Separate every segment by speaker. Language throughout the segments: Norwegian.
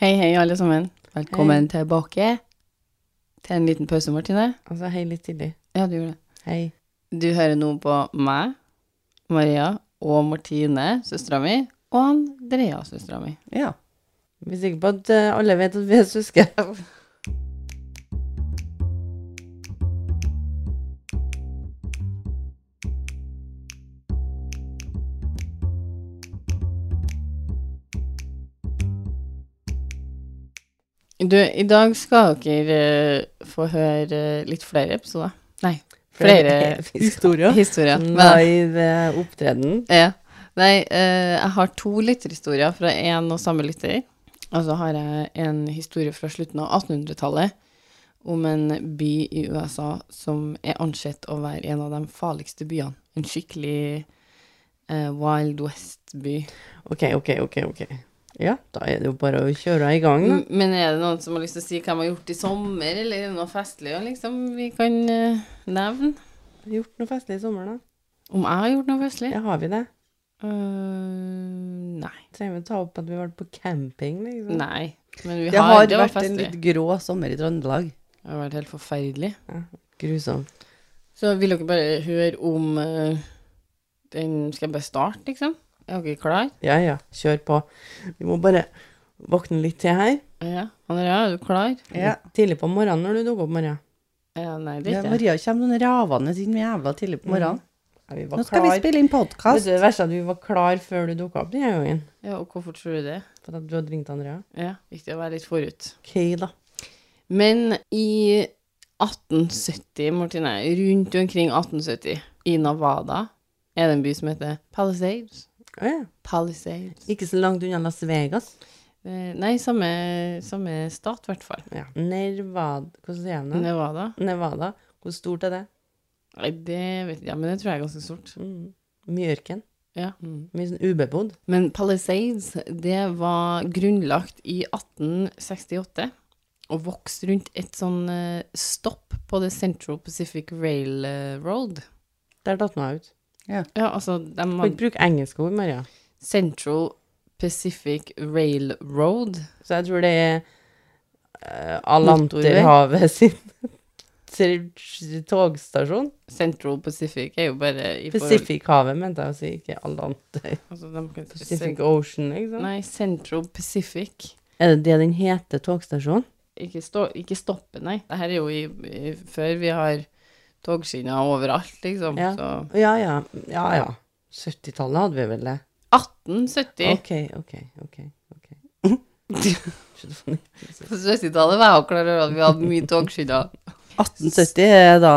Speaker 1: Hei, hei, alle sammen. Velkommen tilbake til en liten pause, Martine.
Speaker 2: Altså, hei litt tidlig.
Speaker 1: Ja, du gjorde det.
Speaker 2: Hei.
Speaker 1: Du hører nå på meg, Maria og Martine, søstera mi, og Andrea, søstera mi.
Speaker 2: Ja. Jeg er sikker på at eh, alle vet at vi er søsken.
Speaker 1: Du, i dag skal dere eh, få høre litt flere episoder. Nei,
Speaker 2: Flere
Speaker 1: flere
Speaker 2: historier.
Speaker 1: historier. Mm. Men,
Speaker 2: Live eh, opptreden.
Speaker 1: ja. Nei, eh, jeg har to lytterhistorier fra én og samme lytter. Og så har jeg en historie fra slutten av 1800-tallet om en by i USA som er ansett å være en av de farligste byene. En skikkelig eh, Wild West-by.
Speaker 2: Ok, ok, ok. ok. Ja, da er det jo bare å kjøre i
Speaker 3: Mm.
Speaker 2: gang. da.
Speaker 1: M- Men er det noen som har lyst til å si hva de har gjort i sommer, eller er det noe festlig ja, liksom, vi kan eh, nevne?
Speaker 2: Har vi Gjort noe festlig i sommer, da?
Speaker 1: Om jeg har gjort noe festlig?
Speaker 2: Ja, har vi det?
Speaker 1: Øh, nei.
Speaker 2: Trenger vi å ta opp at vi har vært på camping, liksom?
Speaker 1: Nei. Men vi
Speaker 3: Det
Speaker 1: har,
Speaker 3: har
Speaker 1: det var
Speaker 3: vært en
Speaker 1: festlig.
Speaker 3: litt grå sommer i Trøndelag.
Speaker 1: Det har vært helt forferdelig.
Speaker 2: Grusomt.
Speaker 1: Så vil dere bare høre om eh, den Skal jeg bare starte, liksom? Er dere klar?
Speaker 2: Ja, ja, kjør på. Vi må bare våkne litt til her.
Speaker 1: Ja. Andrea, er du klar?
Speaker 3: Ja.
Speaker 2: Tidlig på morgenen når du dukker opp, Maria.
Speaker 1: Ja, nei, det
Speaker 3: Ja,
Speaker 1: er ikke jeg.
Speaker 3: Maria kommer noen ravende inn jævla tidlig på morgenen.
Speaker 2: Ja, vi var
Speaker 3: Nå skal vi
Speaker 2: klar.
Speaker 3: spille inn
Speaker 2: Vet du,
Speaker 3: podkast.
Speaker 2: det verste er at vi var klar før du dukka opp denne gangen.
Speaker 1: Ja, og hvorfor tror du det?
Speaker 2: For at du hadde ringt Andrea.
Speaker 1: Ja, Viktig å være litt forut.
Speaker 2: Ok, da.
Speaker 1: Men i 1870, Martine, rundt omkring 1870, i Nevada, er det en by som heter Palisades.
Speaker 2: Å ja.
Speaker 1: Palisades.
Speaker 2: Ikke så langt unna Las Vegas.
Speaker 1: Eh, Nei, samme, samme stat, i hvert fall.
Speaker 2: Ja. Nervada Hvordan sier jeg det?
Speaker 1: Nevada.
Speaker 2: Nevada. Hvor stort er det?
Speaker 1: Nei, det vet jeg, ja, men det tror jeg er ganske stort.
Speaker 2: Mm. Mye ørken.
Speaker 1: Ja.
Speaker 2: Mye sånn ubebodd.
Speaker 1: Men Palisades, det var grunnlagt i 1868 og vokste rundt et sånn eh, stopp på The Central Pacific Railroad.
Speaker 2: Der datt meg ut.
Speaker 1: Ja, altså, de
Speaker 2: Kan
Speaker 1: hadde
Speaker 2: ikke bruke engelske ord, Maria.
Speaker 1: Central Pacific Railroad.
Speaker 2: Så jeg tror det er uh, Alanterhavet sin til- togstasjon.
Speaker 1: Central Pacific er jo bare i forhold
Speaker 2: Pacifichavet, mente jeg å si. Ikke Alanter.
Speaker 1: altså, de kan,
Speaker 2: Pacific Ocean, ikke sant?
Speaker 1: Nei, Central Pacific.
Speaker 2: Er det det den heter, togstasjonen?
Speaker 1: Ikke, stå, ikke stoppe, nei. Dette er jo i, i, før vi har togskinner overalt, liksom.
Speaker 2: Ja.
Speaker 1: Så
Speaker 2: Ja, ja. Ja, ja. 70-tallet hadde vi vel det.
Speaker 1: 1870.
Speaker 2: OK, OK, OK. ok. Skjønner du?
Speaker 1: På 70-tallet var jeg jo klar over at vi hadde mye togskinner.
Speaker 3: 1870 er da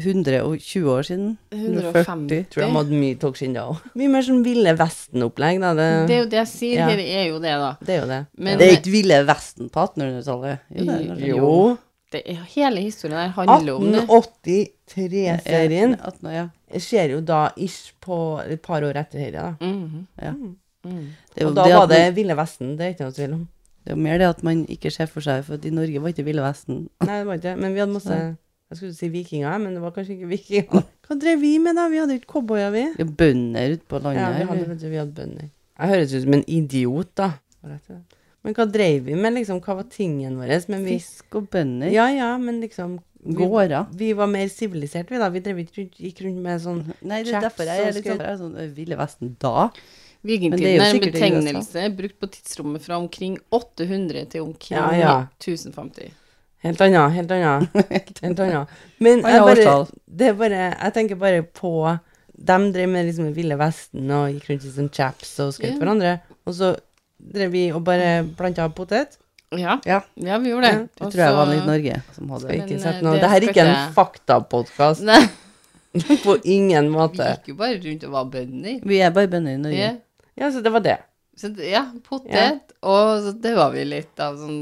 Speaker 3: 120 år siden.
Speaker 1: 150.
Speaker 2: Tror de hadde mye talkshin da òg. Mye mer sånn Ville Vesten-opplegg, da. Det,
Speaker 1: Det er jo det jeg sier,
Speaker 2: Ja.
Speaker 1: her er jo det, da.
Speaker 2: det er jo det.
Speaker 1: Men-
Speaker 3: Det er ikke Ville Vesten på 1800-tallet. Jo, det er kanskje-
Speaker 1: Jo.
Speaker 2: Jo.
Speaker 1: Det er, hele historien her handler om det.
Speaker 2: 1883-serien
Speaker 3: Ja, 18, ja.
Speaker 2: skjer jo da ish på et par år etter dette, da.
Speaker 1: Mhm.
Speaker 3: Det er jo
Speaker 2: Og da
Speaker 3: det
Speaker 2: var
Speaker 3: at
Speaker 2: det
Speaker 3: man,
Speaker 2: Ville Vesten, det er ikke noe tvil om.
Speaker 3: det er jo mer det at man ikke ser for seg, for at i Norge var ikke Ville Vesten.
Speaker 2: Nei, det var ikke det. Men vi hadde masse Jeg skulle si vikinger, men det var kanskje ikke vikinger. Hva drev vi med, da? Vi hadde jo ikke cowboyer, vi.
Speaker 3: Det er jo bønder ute
Speaker 2: Ja,
Speaker 3: på landet
Speaker 2: vi hadde,
Speaker 3: her.
Speaker 2: vet du, vi hadde bønder. Jeg høres ut som en idiot, da. Har jeg til det? Men hva dreiv vi med, liksom? Hva var tingen vår? Men vi
Speaker 3: Fisk og bønder.
Speaker 2: Ja, ja, men liksom vi-
Speaker 3: Gårder.
Speaker 2: Vi var mer siviliserte, vi, da. Vi drev ikke rundt, gikk rundt med sånn
Speaker 3: Nei, det er
Speaker 2: Chaps
Speaker 3: derfor jeg
Speaker 2: og
Speaker 3: er litt sånn, jeg er sånn øh, Ville Vesten da. Men det er
Speaker 1: Vikingtiden
Speaker 3: jo
Speaker 1: er en
Speaker 3: sikkert i
Speaker 1: betegnelse brukt på tidsrommet fra omkring 800 til omkring
Speaker 2: Ja, ja.
Speaker 1: 1050.
Speaker 2: Helt anna, helt anna. helt anna. Men jeg,
Speaker 3: Annet
Speaker 2: bare,
Speaker 3: årstall.
Speaker 2: det er bare, jeg tenker bare på De drev med liksom den Ville Vesten og gikk rundt i sånn chaps og skjøt
Speaker 1: Ja.
Speaker 2: hverandre. Og så drev vi og bare planta potet.
Speaker 1: Ja.
Speaker 3: Ja.
Speaker 1: ja, vi gjorde det. Altså,
Speaker 3: Det
Speaker 1: Og
Speaker 3: tror jeg
Speaker 1: så-
Speaker 3: var litt Norge som hadde
Speaker 2: Skal
Speaker 1: Men,
Speaker 2: ikke
Speaker 1: eh,
Speaker 2: sette noe
Speaker 1: det
Speaker 2: Det her er ikke
Speaker 1: skal
Speaker 2: en faktapodkast.
Speaker 1: Nei,
Speaker 2: På ingen
Speaker 1: vi
Speaker 2: måte.
Speaker 1: gikk jo bare rundt og var bønder.
Speaker 3: Vi er bare bønder i Norge.
Speaker 1: Ja.
Speaker 2: Ja, så det var det.
Speaker 1: Så, det- ja, potet.
Speaker 2: Ja.
Speaker 1: Og så det var vi litt av sånn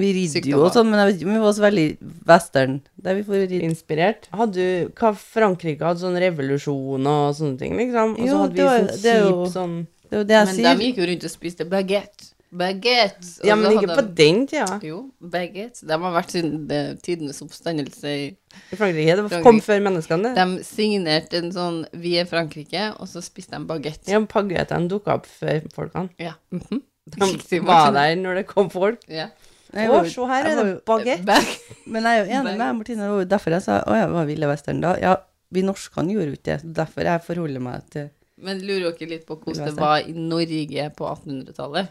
Speaker 3: Vi ridde
Speaker 1: Sykdommer.
Speaker 3: jo og sånn, men jeg vet ikke om vi var så veldig western. Der vi får ridde.
Speaker 2: Inspirert. Hadde du Hva Frankrike hadde sånn revolusjon og sånne ting, liksom? Og så
Speaker 3: Jo,
Speaker 2: hadde vi
Speaker 3: det var-
Speaker 2: sånn
Speaker 3: det er jo-
Speaker 2: kjip sånn
Speaker 3: Det er jo det jeg
Speaker 1: Men de
Speaker 3: sier.
Speaker 1: gikk jo rundt og spiste baguette. Baguette! Og
Speaker 2: Ja,
Speaker 1: så
Speaker 2: men ikke på
Speaker 1: hadde
Speaker 2: den tida.
Speaker 1: de- Jo, baguette. De har vært siden det- tidenes oppstandelse. i-
Speaker 2: I Frankrike. Det var,
Speaker 1: Frankrike.
Speaker 2: kom før menneskene, det.
Speaker 1: De signerte en sånn 'Vi er Frankrike', og så spiste de baguette.
Speaker 2: Ja, Pagetene dukka opp før folkene.
Speaker 1: Ja. Mhm.
Speaker 2: De
Speaker 1: Riktig,
Speaker 2: var
Speaker 1: Martine.
Speaker 2: der når det kom folk.
Speaker 1: Ja.
Speaker 3: Nei, jeg
Speaker 2: Å,
Speaker 3: var jo-
Speaker 2: se her
Speaker 3: jeg
Speaker 2: er det
Speaker 3: var jo-
Speaker 2: bagett.
Speaker 1: Back.
Speaker 3: Men jeg er jo enig med Martine, det var jo derfor jeg sa å ja, var Ville Vestern da? Ja, vi norskene gjorde jo ikke det, så derfor jeg forholder meg til
Speaker 1: Men lurer dere litt på hvordan det
Speaker 3: Uansett.
Speaker 1: var i Norge på 1800-tallet?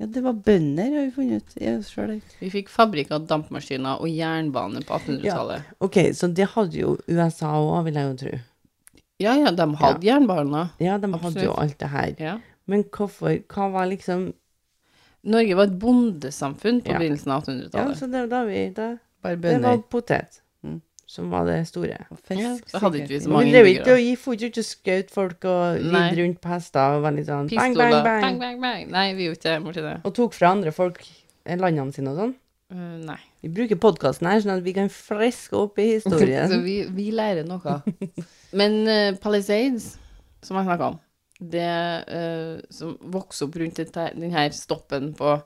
Speaker 3: Ja, det var bønder, har vi funnet ut. Jeg er jo selv der.
Speaker 1: Vi fikk fabrikker, dampmaskiner og jernbane på 1800-tallet.
Speaker 2: Ok, så det hadde jo USA òg, vil jeg jo tro.
Speaker 1: Ja, ja, de hadde jernbaner.
Speaker 2: Ja, de hadde jo
Speaker 1: Absolutt.
Speaker 2: alt det her.
Speaker 1: Ja.
Speaker 2: Men hvorfor Hva var liksom
Speaker 1: Norge var et bondesamfunn på
Speaker 2: Ja.
Speaker 1: begynnelsen av
Speaker 2: Ja,
Speaker 1: 1800-tallet.
Speaker 2: så det var da vi da,
Speaker 3: Bare
Speaker 2: Det
Speaker 3: bønder.
Speaker 2: var potet
Speaker 3: Mm.
Speaker 2: som var det store.
Speaker 3: og fisk,
Speaker 1: Ja, så hadde ikke vi
Speaker 3: sikkert.
Speaker 1: så mange-
Speaker 2: vi drev ikke
Speaker 1: innbyggere.
Speaker 2: og gi- for ikke ut og skjøt folk og
Speaker 1: Nei.
Speaker 2: ridde rundt på hester og var litt sånn bang, bang,
Speaker 1: Pistoler.
Speaker 2: bang,
Speaker 1: Bang, bang, bang. Nei, vi gjorde ikke det, Martine.
Speaker 2: Og tok fra andre folk eh, landene sine og sånn.
Speaker 1: Eh, nei.
Speaker 2: Vi bruker podkasten her sånn at vi kan friske opp i
Speaker 1: Så
Speaker 2: historien.
Speaker 1: vi, vi lærer noe. Men eh, Palisades, som jeg snakka om, det eh, som vokste opp rundt denne stoppen på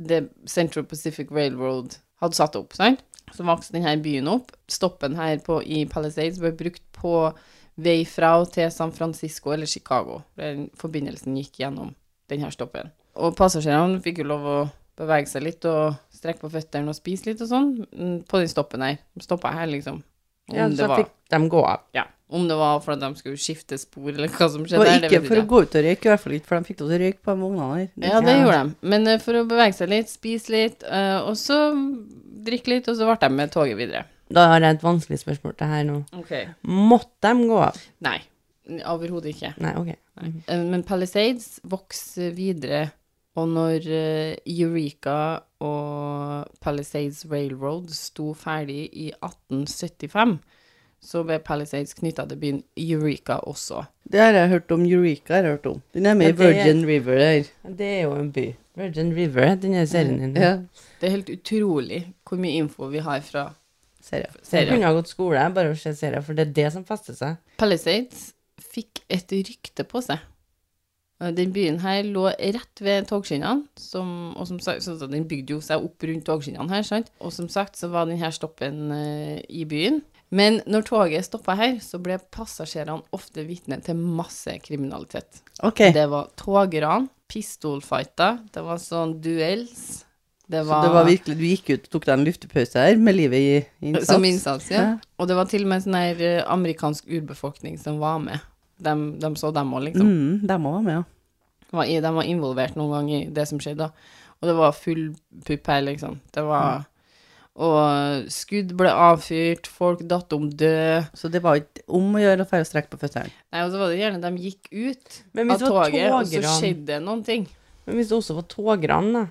Speaker 1: det Central Pacific Railroad hadde satt opp, sant? så vokste denne byen opp. Stoppen her på, i Palisades ble brukt på vei fra og til San Francisco eller Chicago. Den forbindelsen gikk gjennom denne stoppen. Og passasjerene fikk jo lov å bevege seg litt og strekke på føttene og spise litt og sånn mm, på den stoppen her. De stoppa her, liksom. Om,
Speaker 2: ja,
Speaker 1: det
Speaker 2: så
Speaker 1: var,
Speaker 2: fikk de gå av.
Speaker 1: ja, om det var for at de skulle skifte spor eller hva som
Speaker 3: Det
Speaker 1: skjedde
Speaker 3: var
Speaker 1: der,
Speaker 3: ikke
Speaker 1: vet
Speaker 3: for
Speaker 1: jeg
Speaker 3: å gå ut og røyke, i hvert fall ikke, for de fikk lov til å røyke på de vognene her.
Speaker 1: Ja, det gjorde de. Men eh, for å bevege seg litt, spise litt, eh, og så drikke litt, og så ble de med toget videre.
Speaker 2: Da har jeg et vanskelig spørsmål til her nå. Måtte de gå av?
Speaker 1: Nei, overhodet ikke.
Speaker 2: Nei, ok.
Speaker 1: Eh, Men Palisades vokser videre, og når eh, Eureka og Palisades Railroad sto ferdig i 1875, så ble Palisades knytta til byen Eureka også.
Speaker 3: Det har jeg hørt om. Eureka har jeg hørt om. Den er med i
Speaker 2: Ja, det-
Speaker 3: Virgin River der.
Speaker 2: Det er jo en by. Virgin River, den er serien din.
Speaker 3: Ja,
Speaker 1: Det er helt utrolig hvor mye info vi har fra
Speaker 3: ser jeg.
Speaker 2: Jeg
Speaker 1: serien.
Speaker 2: kunne ha gått skole, bare å se serier, for det er det som fester seg.
Speaker 1: Palisades fikk et rykte på seg. Eh, Den byen her lå rett ved togskinnene, som, og som sagt, så så den bygde jo seg opp rundt togskinnene her, sant? Og som sagt så var den her stoppen eh, i byen. Men når toget stoppa her, så ble passasjerene ofte vitne til masse kriminalitet.
Speaker 3: OK.
Speaker 1: Det var togran, pistolfighter, det var sånn duels Det
Speaker 3: Så det var virkelig, du gikk ut og tok deg en luftepause her med livet i i innsats.
Speaker 1: Som innsats, ja.
Speaker 3: Ja.
Speaker 1: Og det var til og med sånn her eh, amerikansk urbefolkning som var med. De, de så dem òg, liksom.
Speaker 3: Mm, de òg var med, ja.
Speaker 1: var i, de var involvert noen gang i det som skjedde, da. Og det var full pupp her, liksom. Det var Og skudd ble avfyrt, folk datt om død.
Speaker 3: Så det var ikke om å gjøre å dra og strekke på føttene.
Speaker 1: Nei, og så var det gjerne de gikk ut
Speaker 2: Men
Speaker 1: av
Speaker 2: hvis det var
Speaker 1: toget, og så
Speaker 2: togran,
Speaker 1: skjedde det noen ting.
Speaker 2: men hvis det også var togran, da,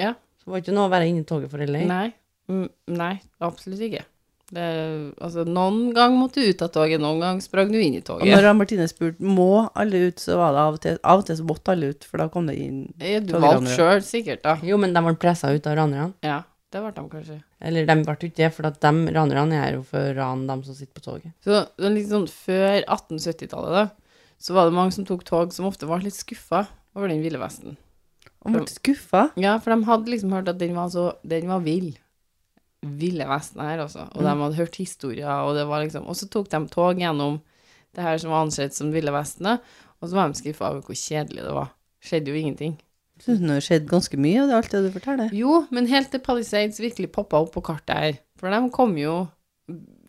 Speaker 1: Ja.
Speaker 2: så var det ikke noe å være inne i toget for heller.
Speaker 1: Nei. Mm, nei, absolutt ikke. Det, altså, noen gang måtte du ut av toget, noen gang sprang du inn i
Speaker 3: Og
Speaker 1: toget.
Speaker 3: når Martine spurte må alle ut, så var det av og til Av og til så måtte alle ut, for da kom det inn
Speaker 1: Eh, Du
Speaker 3: togran,
Speaker 1: valgte
Speaker 3: ja.
Speaker 1: sjøl, sikkert, da.
Speaker 2: Jo, men de ble pressa ut av ranerne.
Speaker 1: Ja, det ble de kanskje.
Speaker 2: Eller de ble jo ikke det, for at de ranerne er jo for å rane dem som sitter på toget.
Speaker 1: Så det var litt sånn før 1870-tallet, da, så var det mange som tok tog som ofte var litt skuffa over den ville vesten.
Speaker 3: Og ble skuffa.
Speaker 1: Ja, for de hadde liksom hørt at den var så Den var vill. Ville vesten her, altså. Og de hadde hørt historier, og det var liksom Og så tok de tog gjennom det her som var ansett som ville vesten, da, og så var de skuffa over hvor kjedelig det var. Skjedde jo ingenting.
Speaker 3: Syns det har skjedd ganske mye, og det er alt det du forteller.
Speaker 1: Jo, men helt til Palisades virkelig poppa opp på kartet her. For de kom jo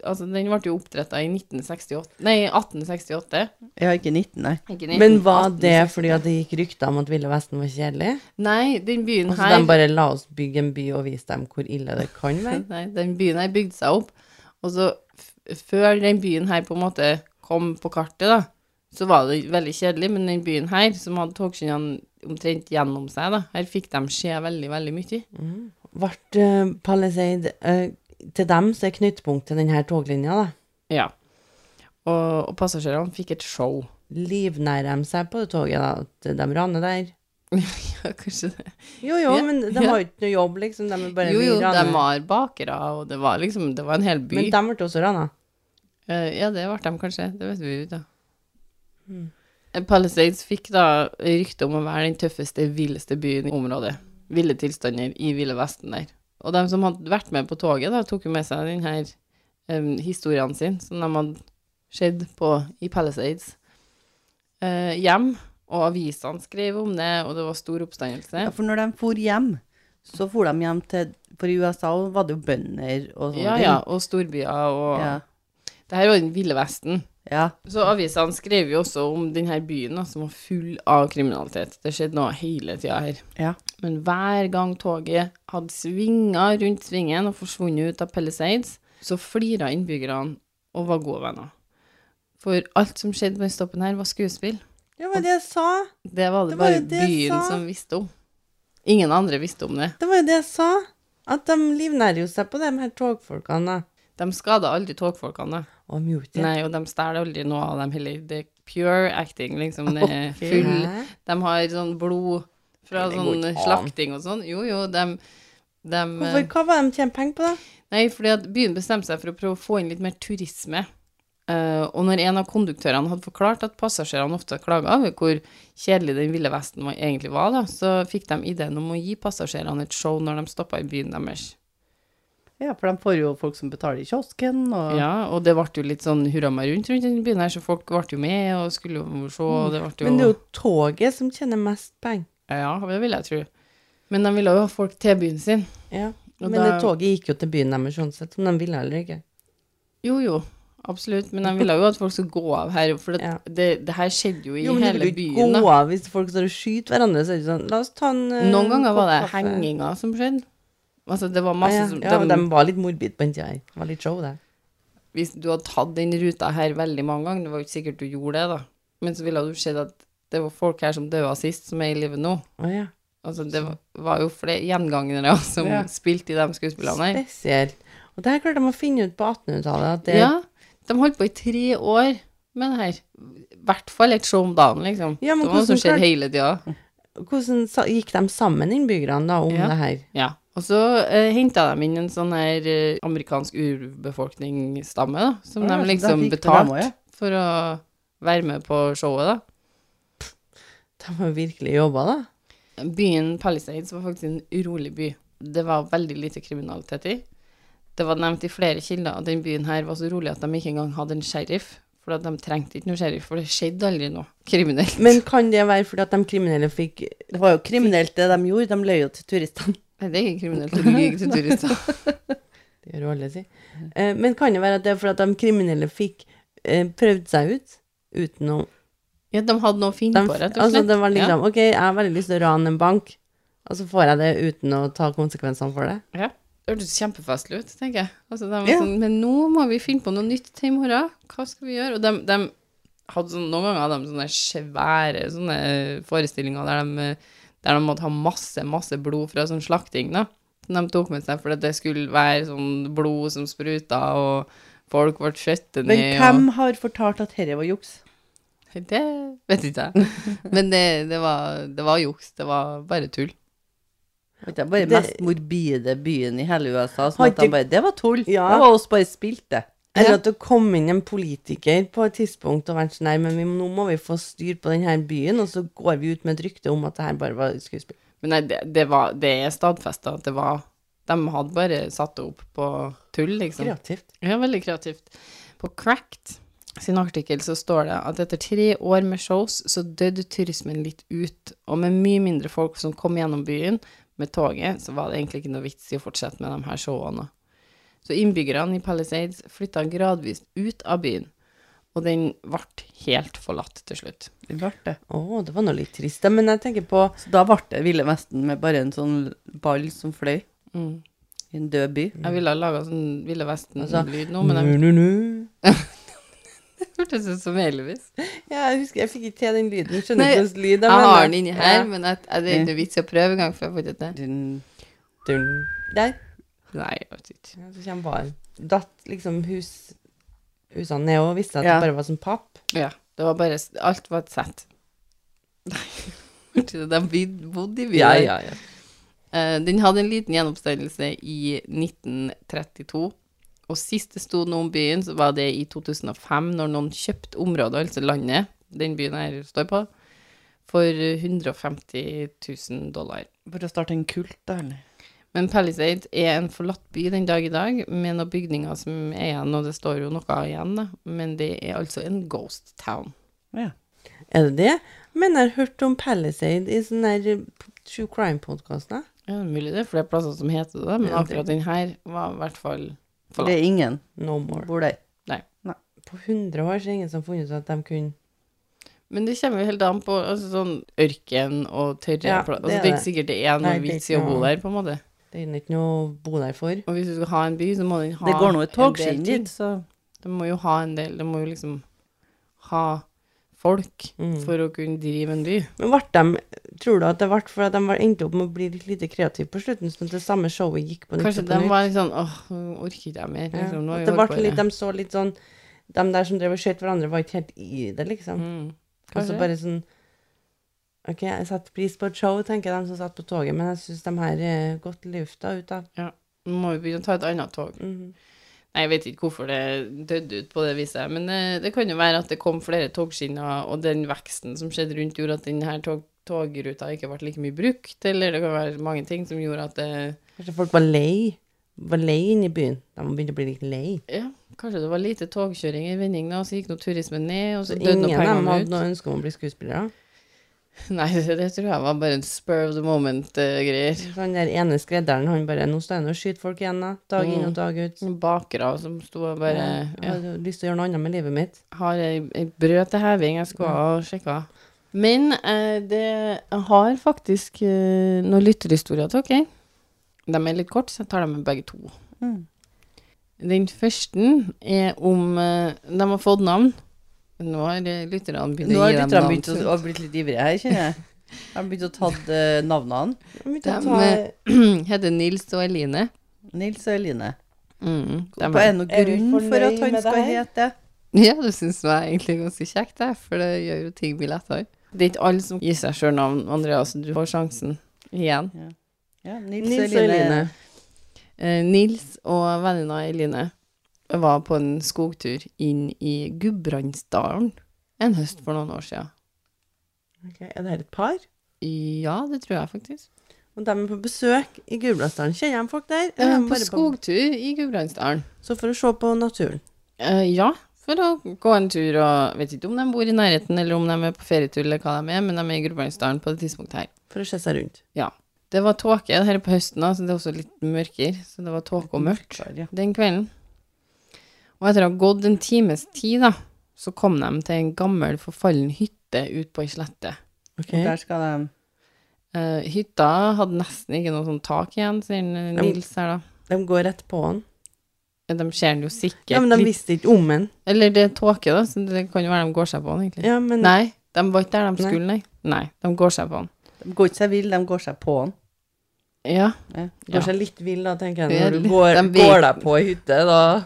Speaker 1: Altså, den ble jo oppdretta i 1968 Nei, 1868.
Speaker 3: Jeg har ikke 19, nei.
Speaker 1: Ikke
Speaker 2: Men var
Speaker 1: 1918.
Speaker 2: det fordi at det gikk rykter om at Ville Vesten var kjedelig?
Speaker 1: Nei, den byen
Speaker 2: Og så
Speaker 1: her
Speaker 2: de bare la oss bygge en by og vise dem hvor ille det kan være?
Speaker 1: Nei, den byen her bygde seg opp. Og så f før den byen her på en måte kom på kartet, da, så var det veldig kjedelig, men den byen her, som hadde togskinnene omtrent gjennom seg, da, her fikk de se veldig, veldig mye.
Speaker 2: Vart eh, Palisade eh, til dem så er knyttpunkt til denne toglinja, da.
Speaker 1: Ja. Og, og passasjerene fikk et show.
Speaker 2: Livnærer de seg på det toget, da? At de raner der?
Speaker 1: Ja, kanskje det.
Speaker 2: Jo, jo,
Speaker 1: Ja,
Speaker 2: men de
Speaker 1: ja.
Speaker 2: har jo ikke noe jobb, liksom. De er bare
Speaker 1: Jo, jo,
Speaker 2: mye
Speaker 1: de
Speaker 2: raner.
Speaker 1: var bakere, og det var liksom, det var en hel by.
Speaker 2: Men de ble også rana.
Speaker 1: Eh, Ja, det ble de kanskje. Det vet vi jo ikke. da.
Speaker 3: Mm.
Speaker 1: Eh, Palisades fikk da rykte om å være den tøffeste, villeste byen i området. Ville tilstander i Ville Vesten der. Og de som hadde vært med på toget, da, tok jo med seg den her em, historien sin, som de hadde sett på i Palisades, eh, hjem. Og avisene skrev om det, og det var stor oppstandelse.
Speaker 3: Ja, for når de for hjem, så for de hjem til For i USA var det jo bønder og sånne
Speaker 1: Ja, ja, og storbyer og
Speaker 3: ting. Ja.
Speaker 1: Det her var den ville vesten.
Speaker 3: ja.
Speaker 1: Så avisene skrev jo også om denne byen da, som var full av kriminalitet. Det skjedde noe hele tida her.
Speaker 3: Ja.
Speaker 1: Men hver gang toget hadde svinga rundt svingen og forsvunnet ut av Palisades, så flira innbyggerne og var gode venner. For alt som skjedde på den stoppen her, var skuespill.
Speaker 2: Det var det jeg sa.
Speaker 1: Det var det
Speaker 2: Det var
Speaker 1: bare
Speaker 2: jo det jeg
Speaker 1: byen
Speaker 2: sa.
Speaker 1: som visste om. Ingen andre visste om det.
Speaker 2: Det var jo det jeg sa. At de livnærer jo seg på de her togfolkene. da.
Speaker 1: De skada aldri togfolkene.
Speaker 2: Og de gjorde ikke det.
Speaker 1: Nei, og de stjeler aldri noe av dem heller. Det er pure acting, liksom. Det er full
Speaker 2: Hæ?
Speaker 1: De har sånn blod fra
Speaker 2: Det går
Speaker 1: sånn
Speaker 2: ikke an.
Speaker 1: slakting og sånn. Jo, jo, de,
Speaker 2: Hvorfor, hva var det de tjente penger på, da?
Speaker 1: Nei, fordi at byen bestemte seg for å prøve å få inn litt mer turisme. Eh, og når en av konduktørene hadde forklart at passasjerene ofte klaga over hvor kjedelig den ville vesten var- egentlig var, da, så fikk de ideen om å gi passasjerene et show når de stoppa i byen deres.
Speaker 3: ja, for de får jo folk som betaler i kiosken, og
Speaker 1: Ja, og det ble jo litt sånn hurra meg rundt rundt i den byen her, så folk ble jo med og skulle jo se, og det ble jo
Speaker 2: Men det er jo toget som tjener mest penger.
Speaker 1: Ja, det vil jeg tro. Men de ville jo ha folk til byen sin.
Speaker 2: Ja.
Speaker 1: Og
Speaker 2: Men det
Speaker 1: da-
Speaker 2: toget gikk jo til byen deres uansett, om de ville eller ikke.
Speaker 1: Jo, jo, absolutt. Men de ville jo at folk skulle gå av her, for det,
Speaker 2: Ja.
Speaker 1: det, det her skjedde jo i
Speaker 2: Jo, men du
Speaker 1: hele
Speaker 2: vil jo ikke
Speaker 1: byen. da.
Speaker 2: gå av hvis folk står og skyter hverandre. Så er det sånn, la oss ta en eh,
Speaker 1: Noen ganger var det
Speaker 2: kopp kaffe.
Speaker 1: henginger som skjedde. Altså, det var
Speaker 2: ja,
Speaker 1: masse
Speaker 2: ja.
Speaker 1: som
Speaker 2: ja, og de
Speaker 1: dem-
Speaker 2: var litt morbid på den tida her. Det var litt show, det.
Speaker 1: Hvis du hadde tatt den ruta her veldig mange ganger, det var jo ikke sikkert du gjorde det, da. Men så ville du sett at det var folk her som døde sist, som er i live nå.
Speaker 2: Å ja.
Speaker 1: Altså, det var- var jo flere gjengangere som
Speaker 2: Ja.
Speaker 1: spilte i de skuespillene her.
Speaker 2: Spesielt. Og det her klarte de å finne ut på 1800-tallet. At det
Speaker 1: Ja, de holdt på i tre år med det her. I hvert fall et show om dagen, liksom.
Speaker 2: Ja, men
Speaker 1: det var noe som
Speaker 2: hvordan
Speaker 1: skjedde
Speaker 2: klarte-
Speaker 1: hele tida.
Speaker 2: Hvordan sa, gikk de sammen, innbyggerne, da, om
Speaker 1: Ja.
Speaker 2: det her?
Speaker 1: Ja. Og så eh, henta de inn en sånn her eh, amerikansk urbefolkningsstamme, da, som de
Speaker 3: Ja, så der
Speaker 1: liksom
Speaker 3: fikk de
Speaker 1: betalte
Speaker 3: dem også, ja.
Speaker 1: for å være med på showet, da.
Speaker 2: De har virkelig jobba, da.
Speaker 1: Byen Palisades var faktisk en rolig by. Det var veldig lite kriminalitet i. Det var nevnt i flere kilder at den byen her var så rolig at de ikke engang hadde en sheriff. For at de trengte ikke noe sheriff, for det skjedde aldri noe kriminelt.
Speaker 2: Men kan det være fordi at de kriminelle fikk
Speaker 3: Det var jo kriminelt det de gjorde, de løy jo til turistene.
Speaker 1: Nei, det er ikke kriminelt å lyve til turister.
Speaker 2: Det gjør jo alle, si. Eh, Men kan det være at det er fordi at de kriminelle fikk eh, prøvd seg ut? Uten å
Speaker 1: Ja, de hadde noe å
Speaker 2: de,
Speaker 1: finne på, rett og slett.
Speaker 2: Altså, det var
Speaker 1: Ja.
Speaker 2: liksom OK, jeg har veldig lyst til å rane en bank, og så får jeg det uten å ta konsekvensene for det.
Speaker 1: Det hørtes kjempefestlig ut, tenker jeg. Altså, de var
Speaker 3: Ja.
Speaker 1: sånn, men nå må vi finne på noe nytt til i morgen. Hva skal vi gjøre? Og de, de hadde sånn, noen ganger hadde de sånne svære sånne forestillinger der de, der de måtte ha masse, masse blod fra sånn slakting, da. Som de tok med seg, for at det skulle være sånn blod som spruta, og folk ble skjøttet
Speaker 3: Men
Speaker 1: ned.
Speaker 3: hvem
Speaker 1: og-
Speaker 3: har fortalt at dette var juks?
Speaker 1: Det vet ikke jeg. Men det, det, var, det var juks. Det var bare tull.
Speaker 3: Vet du, Det er bare
Speaker 2: Det-
Speaker 3: den mest morbide byen i hele USA. Sånn
Speaker 2: Har
Speaker 3: at de
Speaker 2: ikke-
Speaker 3: bare, det var tull.
Speaker 2: Ja.
Speaker 3: Det var oss bare spilt, det.
Speaker 2: Eller at det kom inn en politiker på et tidspunkt og vært sånn Nei, men vi, nå må vi få styr på denne byen, og så går vi ut med et rykte om at det her bare var skuespill.
Speaker 1: Men nei, det, det, var, det er stadfesta at det var De hadde bare satt det opp på tull, liksom.
Speaker 2: Kreativt.
Speaker 1: Ja, veldig kreativt. På Cracked sin artikkel så står det at etter tre år med shows så døde turismen litt ut, og med mye mindre folk som kom gjennom byen med toget, så var det egentlig ikke noe vits i å fortsette med de her showene. Så innbyggerne i Palisades flytta gradvis ut av byen, og den ble helt forlatt til slutt.
Speaker 3: Det ble det.
Speaker 2: Å, det var nå litt trist, da, men jeg tenker på
Speaker 3: Så da ble det Ville Vesten med bare en sånn ball som fløy
Speaker 1: Mm.
Speaker 3: i en død by.
Speaker 1: Jeg ville ha laga sånn Ville Vesten-lyd nå, men jeg
Speaker 2: nu, nu, nu.
Speaker 1: hørtes ut som Elvis.
Speaker 2: Ja, jeg husker jeg fikk ikke til den lyden. Skjønner
Speaker 1: Nei,
Speaker 2: ikke hvordan lyd
Speaker 1: Jeg
Speaker 2: mener.
Speaker 1: har den inni her,
Speaker 2: Ja.
Speaker 1: men jeg, jeg, det er ikke noe vits i å prøve engang, for jeg får ikke til.
Speaker 3: Den-
Speaker 2: Dun. Der.
Speaker 1: Nei, jeg vet ikke.
Speaker 2: Ja, så kommer baren. Datt liksom hus, husene ned og visste at
Speaker 3: Ja.
Speaker 2: det bare var sånn papp.
Speaker 1: Ja, det var bare, alt var et sett. Nei, hørte du, de vid- bodde i byen.
Speaker 2: ja.
Speaker 1: Eh, Den hadde en liten gjenoppstandelse i 1932, og sist det sto noe om byen, så var det i 2005, når noen kjøpte området, altså landet, den byen her står på, for 150 000 dollar.
Speaker 3: For å starte en kult, da, eller?
Speaker 1: Men Palisade er en forlatt by den dag i dag, med noen bygninger som er igjen, og det står jo noe igjen, da. Men det er altså en ghost town.
Speaker 3: Ja.
Speaker 2: Er det det? Men jeg har hørt om Palisade i sånne her True Crime-podkaster.
Speaker 1: Ja, det er mulig det er flere plasser som heter det, men
Speaker 2: Ja, det-
Speaker 1: akkurat den her var i hvert fall
Speaker 3: Det er ingen
Speaker 2: No more.
Speaker 3: bor der.
Speaker 2: På 100 år så er det ingen som har funnet ut at de kunne
Speaker 1: Men det kommer jo helt an på altså, sånn ørken og tørre
Speaker 2: Ja,
Speaker 1: plasser.
Speaker 2: det
Speaker 1: Altså,
Speaker 2: er
Speaker 1: det er ikke
Speaker 2: det.
Speaker 1: sikkert det er
Speaker 2: Nei,
Speaker 1: noen
Speaker 2: det er
Speaker 1: vits i
Speaker 2: ikke
Speaker 1: å bo
Speaker 2: noe-
Speaker 1: der, på en måte.
Speaker 2: Det er ikke noe å bo der for.
Speaker 1: Og hvis du skal ha en by, så må den ha
Speaker 3: Det går nå et
Speaker 1: en del ting.
Speaker 3: togskinn dit, så
Speaker 1: Det må jo ha en del Det må jo liksom ha folk
Speaker 2: Mm.
Speaker 1: for å kunne drive en by.
Speaker 2: Men ble de, tror du at det ble for at de var- endte opp med å bli litt lite kreative på slutten, sånn at det samme showet gikk på nytt
Speaker 1: Kanskje
Speaker 2: og på
Speaker 1: de
Speaker 2: nytt?
Speaker 1: var litt sånn åh, nå orker ikke jeg mer.
Speaker 2: Ja.
Speaker 1: Liksom. Nå har vi
Speaker 2: At det
Speaker 1: holdt på
Speaker 2: ble
Speaker 1: i
Speaker 2: litt, de så litt sånn De der som drev og skjøt hverandre, var ikke helt i det, liksom.
Speaker 1: Mm.
Speaker 2: Og
Speaker 1: Kanskje.
Speaker 2: så bare sånn OK, jeg setter pris på et show, tenker de som satt på toget, men jeg syns de her er gått lufta ut av.
Speaker 1: Nå må vi begynne å ta et annet tog.
Speaker 2: Mhm.
Speaker 1: Nei, jeg vet ikke hvorfor det døde ut på det viset, men eh, det kan jo være at det kom flere togskinner, og den veksten som skjedde rundt, gjorde at denne tog togruta ikke ble like mye brukt, eller det kan være mange ting som gjorde at eh, det
Speaker 2: Kanskje folk var lei. Var lei inne i byen. De begynte å bli litt lei.
Speaker 1: Ja, kanskje det var lite togkjøring i vending, da, og så gikk nå turismen ned, og
Speaker 2: Så
Speaker 1: så døde
Speaker 2: ingen
Speaker 1: nå
Speaker 2: av dem
Speaker 1: pengene
Speaker 2: hadde
Speaker 1: ut.
Speaker 2: noe ønske om å bli skuespillere.
Speaker 1: Nei, det, det tror jeg var bare en spur of the eh, moment-greier.
Speaker 2: Så han der ene skredderen, han bare Nå står jeg nå og skyter folk igjen, da. Dag inn og dag ut.
Speaker 1: Bakere som sto og Mm. bare
Speaker 2: Jeg
Speaker 1: ja,
Speaker 2: hadde lyst til å gjøre noe annet med livet mitt.
Speaker 1: har ei, ei brød til heving jeg skulle ha sjekka. Men eh, det jeg har faktisk eh, noen lytterhistorier til dere. De er litt korte, så jeg tar dem med begge to.
Speaker 3: mm.
Speaker 1: Den første er om eh, de har fått navn. Nå har eh, lytterne begynt
Speaker 3: Nå
Speaker 1: å
Speaker 3: har
Speaker 1: gi dem
Speaker 3: lytterne
Speaker 1: navn.
Speaker 3: begynt å å bli litt ivrige her, kjenner jeg. Har de begynt å ta eh, navnene?
Speaker 2: Jeg begynte å
Speaker 1: De
Speaker 2: ta-
Speaker 1: eh, heter Nils og Eline.
Speaker 3: Nils og Eline.
Speaker 1: Mm, de
Speaker 3: På
Speaker 1: er-
Speaker 3: en og
Speaker 2: Er vi
Speaker 3: grunn for
Speaker 2: fornøyd
Speaker 3: at han
Speaker 2: med det
Speaker 3: skal
Speaker 2: her?
Speaker 3: hete det.
Speaker 1: Ja, det syns jeg er egentlig ganske kjekt, det, for det gjør jo ting mye lettere. Det er ikke alle som gir seg sjøl navn, Andreas. Du får sjansen igjen.
Speaker 3: Ja, Nils,
Speaker 2: Nils og Eline.
Speaker 1: Eh, Nils og venninna Eline var på en skogtur inn i Gudbrandsdalen en høst for noen år siden.
Speaker 2: Ok, er det her et par?
Speaker 1: Ja, det tror jeg faktisk.
Speaker 2: Og de er på besøk i Gudbrandsdalen. Kjenner de folk der?
Speaker 1: Eh,
Speaker 2: Eller er de
Speaker 1: på
Speaker 2: bare
Speaker 1: skogtur i Gudbrandsdalen.
Speaker 2: Så for å se på naturen.
Speaker 1: Eh, ja, for å gå en tur og Vet ikke om de bor i nærheten, eller om de er på ferietur, eller hva de er, men de er i Gudbrandsdalen på det tidspunktet her.
Speaker 2: For å se seg rundt.
Speaker 1: Det var tåke, det her er på høsten, da, så det er også litt mørkere. Så det var tåke og mørkt
Speaker 3: Ja.
Speaker 1: den kvelden. Og etter å ha gått en times tid, da, så kom de til en gammel, forfallen hytte ut på ei slette.
Speaker 2: Ok.
Speaker 3: Og der skal de
Speaker 1: Eh, hytta hadde nesten ikke noe sånn tak igjen, sier eh,
Speaker 2: Ja, men-
Speaker 1: Nils her, da.
Speaker 2: De går rett på han.
Speaker 1: Ja, De ser den jo sikkert
Speaker 2: Ja, men de
Speaker 1: litt
Speaker 2: visste ikke om han.
Speaker 1: Eller det er tåke, da, så det kan jo være de går seg på den, egentlig.
Speaker 2: Ja, men
Speaker 1: Nei, de var ikke der de skulle, nei. Nei, de går seg på den.
Speaker 3: De går ikke seg vill, de går seg på han.
Speaker 1: Ja.
Speaker 2: går seg litt vill da, tenker jeg.
Speaker 1: Ja,
Speaker 2: Når du
Speaker 1: litt-
Speaker 2: går,
Speaker 1: de vet-
Speaker 2: går deg på ei hytte, da.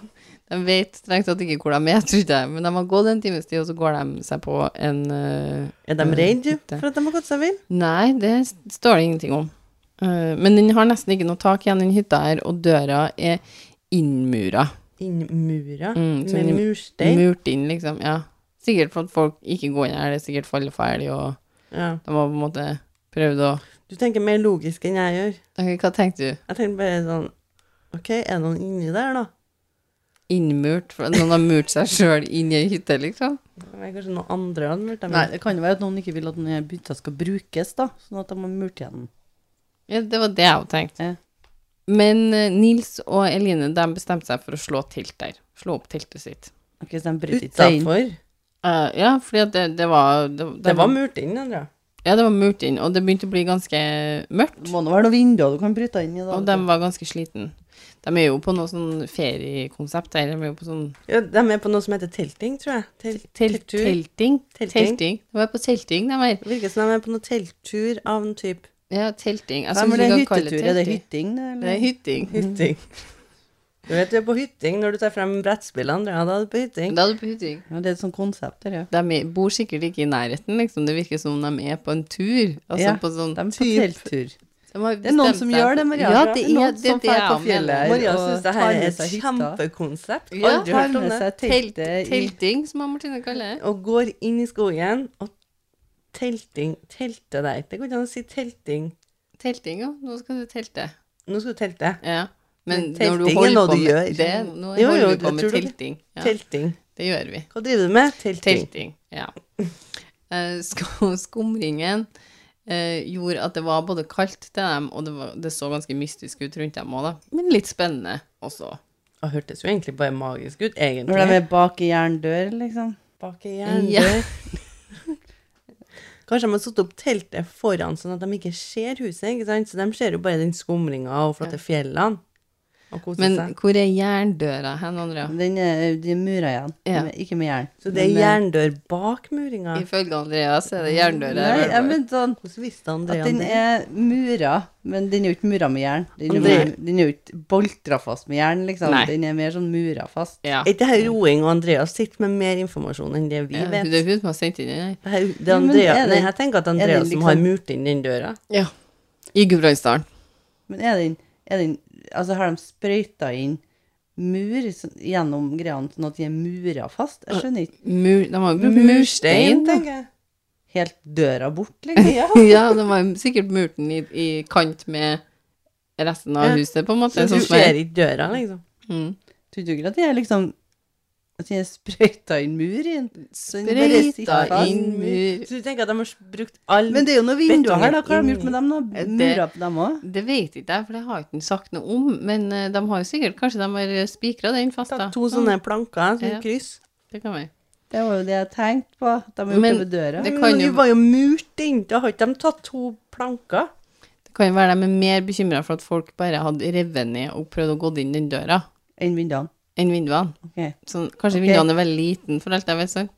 Speaker 1: De vet strengt tatt ikke hvor de er, tror jeg, men de har gått en times tid, og så går de seg på en eh,
Speaker 2: Er de
Speaker 1: Mm,
Speaker 2: redde
Speaker 1: hytte.
Speaker 2: for at de har gått seg vill?
Speaker 1: Nei, det s- står det ingenting om. Eh, men den har nesten ikke noe tak igjen, den hytta her, og døra er innmura.
Speaker 2: Innmura.
Speaker 1: Mm, så
Speaker 2: Med
Speaker 1: den er
Speaker 2: murstein.
Speaker 1: Murt inn, liksom. Ja. Sikkert for at folk ikke går inn her, det er sikkert faller ferdig, og
Speaker 2: Ja.
Speaker 1: de har på en måte prøvd å
Speaker 2: Du tenker mer logisk enn jeg gjør.
Speaker 1: Ok, Hva tenkte du?
Speaker 2: Jeg tenker bare sånn OK, er det noen inni der, da?
Speaker 1: Innmurt? For noen har murt seg sjøl inn i ei hytte, liksom?
Speaker 2: Det er kanskje noen andre hadde murt dem.
Speaker 3: Nei, det kan jo være at noen ikke vil at denne bytta skal brukes, da. Sånn at de har murt igjen den.
Speaker 1: Ja, det var det jeg hadde tenkt.
Speaker 3: Ja.
Speaker 1: Men eh, Nils og Eline de bestemte seg for å slå telt der. Slå opp teltet sitt.
Speaker 3: Ok, så de bryter ikke seg inn.
Speaker 2: Utafor.
Speaker 1: Eh, ja, fordi at det, det var det, det
Speaker 2: Det var murt inn, Andrea.
Speaker 1: Ja, det var murt inn, og det begynte å bli ganske mørkt,
Speaker 3: Det må nå være noen vinduer du kan bryte inn i, da.
Speaker 1: og de var ganske sliten. De er jo på noe sånn feriekonsept her, de er jo på sånn
Speaker 2: Ja, de er på noe som heter telting, tror jeg. Tel
Speaker 1: tel
Speaker 2: telttur.
Speaker 1: telting.
Speaker 2: Telting.
Speaker 1: Telting. De var på telting, de her.
Speaker 2: Det virker som de er på noe telttur av en type
Speaker 1: Ja, telting. Jeg
Speaker 3: Nei,
Speaker 1: synes
Speaker 3: men det
Speaker 1: ikke
Speaker 3: er
Speaker 1: jeg kaller
Speaker 3: hyttetur. Er det
Speaker 1: telting.
Speaker 3: hytting, det?
Speaker 1: Det er
Speaker 3: Eller?
Speaker 1: hytting.
Speaker 2: hytting. Du vet du er på hytting når du tar frem brettspillet, Andrea. Da er du på hytting.
Speaker 1: Da er du på hytting.
Speaker 3: Ja, det er et sånt konsept der, ja.
Speaker 1: De er- bor sikkert ikke i nærheten, liksom. Det virker som de er på en tur. Altså
Speaker 3: Ja,
Speaker 1: på sånn
Speaker 3: De er på
Speaker 1: typ-
Speaker 3: telttur.
Speaker 1: De har
Speaker 3: Det er noen
Speaker 1: bestemt
Speaker 3: som
Speaker 1: seg
Speaker 3: gjør
Speaker 1: for-
Speaker 3: det, Maria.
Speaker 1: Ja, det
Speaker 3: Det
Speaker 1: er
Speaker 3: er noen
Speaker 1: det, er
Speaker 3: som
Speaker 1: det jeg mener.
Speaker 3: drar på fjellet her.
Speaker 2: Maria
Speaker 3: og
Speaker 2: syns det
Speaker 3: tar
Speaker 2: her er
Speaker 3: med
Speaker 2: et
Speaker 3: seg hytta.
Speaker 2: kjempekonsept.
Speaker 1: Ja,
Speaker 2: Aldri
Speaker 3: har
Speaker 2: hørt om
Speaker 3: med
Speaker 2: det.
Speaker 3: seg
Speaker 1: Telt,
Speaker 3: teltet i
Speaker 1: telting, som han Martine kaller det.
Speaker 2: Og går inn i skogen og telting Telte der. Det går ikke an å si telting.
Speaker 1: Telting, ja. Nå skal du telte.
Speaker 2: Nå skal du telte.
Speaker 1: Ja. Men
Speaker 2: Men
Speaker 1: når du
Speaker 2: telting er
Speaker 1: holder på
Speaker 2: noe du
Speaker 1: med
Speaker 2: gjør.
Speaker 1: det, nå
Speaker 2: Jo,
Speaker 1: holder
Speaker 2: jo,
Speaker 1: vi på
Speaker 2: jeg
Speaker 1: med
Speaker 2: tror det.
Speaker 1: telting. Ja,
Speaker 2: Telting.
Speaker 1: det gjør vi.
Speaker 2: Hva driver du med? Telting.
Speaker 1: Telting, ja. eh, sko- skumringen eh, gjorde at det var både kaldt til dem, og det, var, det så ganske mystisk ut rundt dem òg, da. Men litt spennende også.
Speaker 2: Det hørtes jo egentlig bare magisk ut,
Speaker 3: Når de
Speaker 2: egentlig.
Speaker 3: er bak i jerndør, liksom.
Speaker 2: Bak i hjernen.
Speaker 1: Ja.
Speaker 2: Kanskje de har satt opp teltet foran, sånn at de ikke ser huset, ikke sant? Så de ser jo bare den skumringa og flotte fjellene. Og koser
Speaker 1: Men
Speaker 2: seg.
Speaker 1: hvor er jerndøra hen, Andrea?
Speaker 3: Den er, de er mura igjen,
Speaker 1: Ja.
Speaker 3: men ikke med jern.
Speaker 2: Så det er
Speaker 3: Men, eh,
Speaker 2: jerndør bak muringa.
Speaker 1: Ifølge Andreas er det jerndøra.
Speaker 3: Nei,
Speaker 1: jeg vet
Speaker 3: jeg
Speaker 1: bare.
Speaker 3: mente sånn
Speaker 2: Hvordan visste
Speaker 3: at
Speaker 2: Andrea
Speaker 3: den
Speaker 2: det?
Speaker 3: er mura, men den er jo ikke mura med jern. Den er jo
Speaker 2: Andre-
Speaker 3: mer- den er jo ikke boltra fast med jern, liksom.
Speaker 1: Nei.
Speaker 3: Den er mer sånn mura fast.
Speaker 1: Ja.
Speaker 2: Er ikke det her roing, og Andreas sitter med mer informasjon enn det vi
Speaker 1: Ja,
Speaker 2: vet?
Speaker 1: Det er hun som har sendt inn den her.
Speaker 2: Det er, jo- det er
Speaker 3: Ja, men
Speaker 2: Andrea,
Speaker 3: er det-
Speaker 2: nei, jeg tenker at det er Andrea
Speaker 3: liksom-
Speaker 2: som har murt inn den døra.
Speaker 1: Ja. I Gudbrandsdalen.
Speaker 3: Men er den, er den Altså, har de sprøyta inn mur sånn- gjennom greiene sånn at de er mura fast? Jeg skjønner ikke.
Speaker 1: Mur, de har jo brukt murstein. da.
Speaker 2: tenker jeg.
Speaker 3: Helt døra bort, liksom.
Speaker 1: ja, de har jo sikkert murt den i, i kant med resten av
Speaker 2: Ja.
Speaker 1: huset, på en måte.
Speaker 2: Så
Speaker 1: sånn
Speaker 2: du
Speaker 1: som jeg-
Speaker 2: ser ikke døra, liksom.
Speaker 1: Mm.
Speaker 3: Tror du ikke at de er liksom At de er sprøyta inn mur i den? Så den bare sitter
Speaker 1: Sprøyta
Speaker 3: fast.
Speaker 1: inn mur.
Speaker 2: Så du tenker at de har brukt all
Speaker 3: Men det er jo noen vinduer her, da. Hva har de
Speaker 2: Betongen
Speaker 3: gjort med dem, da?
Speaker 1: Det-
Speaker 3: Murer på dem òg?
Speaker 1: Det vet ikke jeg, for det har ikke han sagt noe om. Men eh, de har jo sikkert Kanskje de har spikra den fast, da.
Speaker 2: Tatt to sånne planker,
Speaker 1: Ja.
Speaker 2: sånn kryss.
Speaker 1: Det kan være.
Speaker 3: Det var jo det jeg tenkte på. at De har gjort
Speaker 1: Men
Speaker 3: det ved døra.
Speaker 1: det-
Speaker 2: Men
Speaker 1: kan
Speaker 2: de
Speaker 1: jo-
Speaker 2: var jo murt inn, da har ikke de tatt to planker.
Speaker 1: Det kan jo være de er mer bekymra for at folk bare hadde revet ned og prøvd å gå inn den døra,
Speaker 3: Enn vinduene.
Speaker 1: enn vinduene.
Speaker 3: Ok.
Speaker 1: Sånn, kanskje
Speaker 3: Ok.
Speaker 1: vinduene er veldig liten, for alt jeg vet. sånn.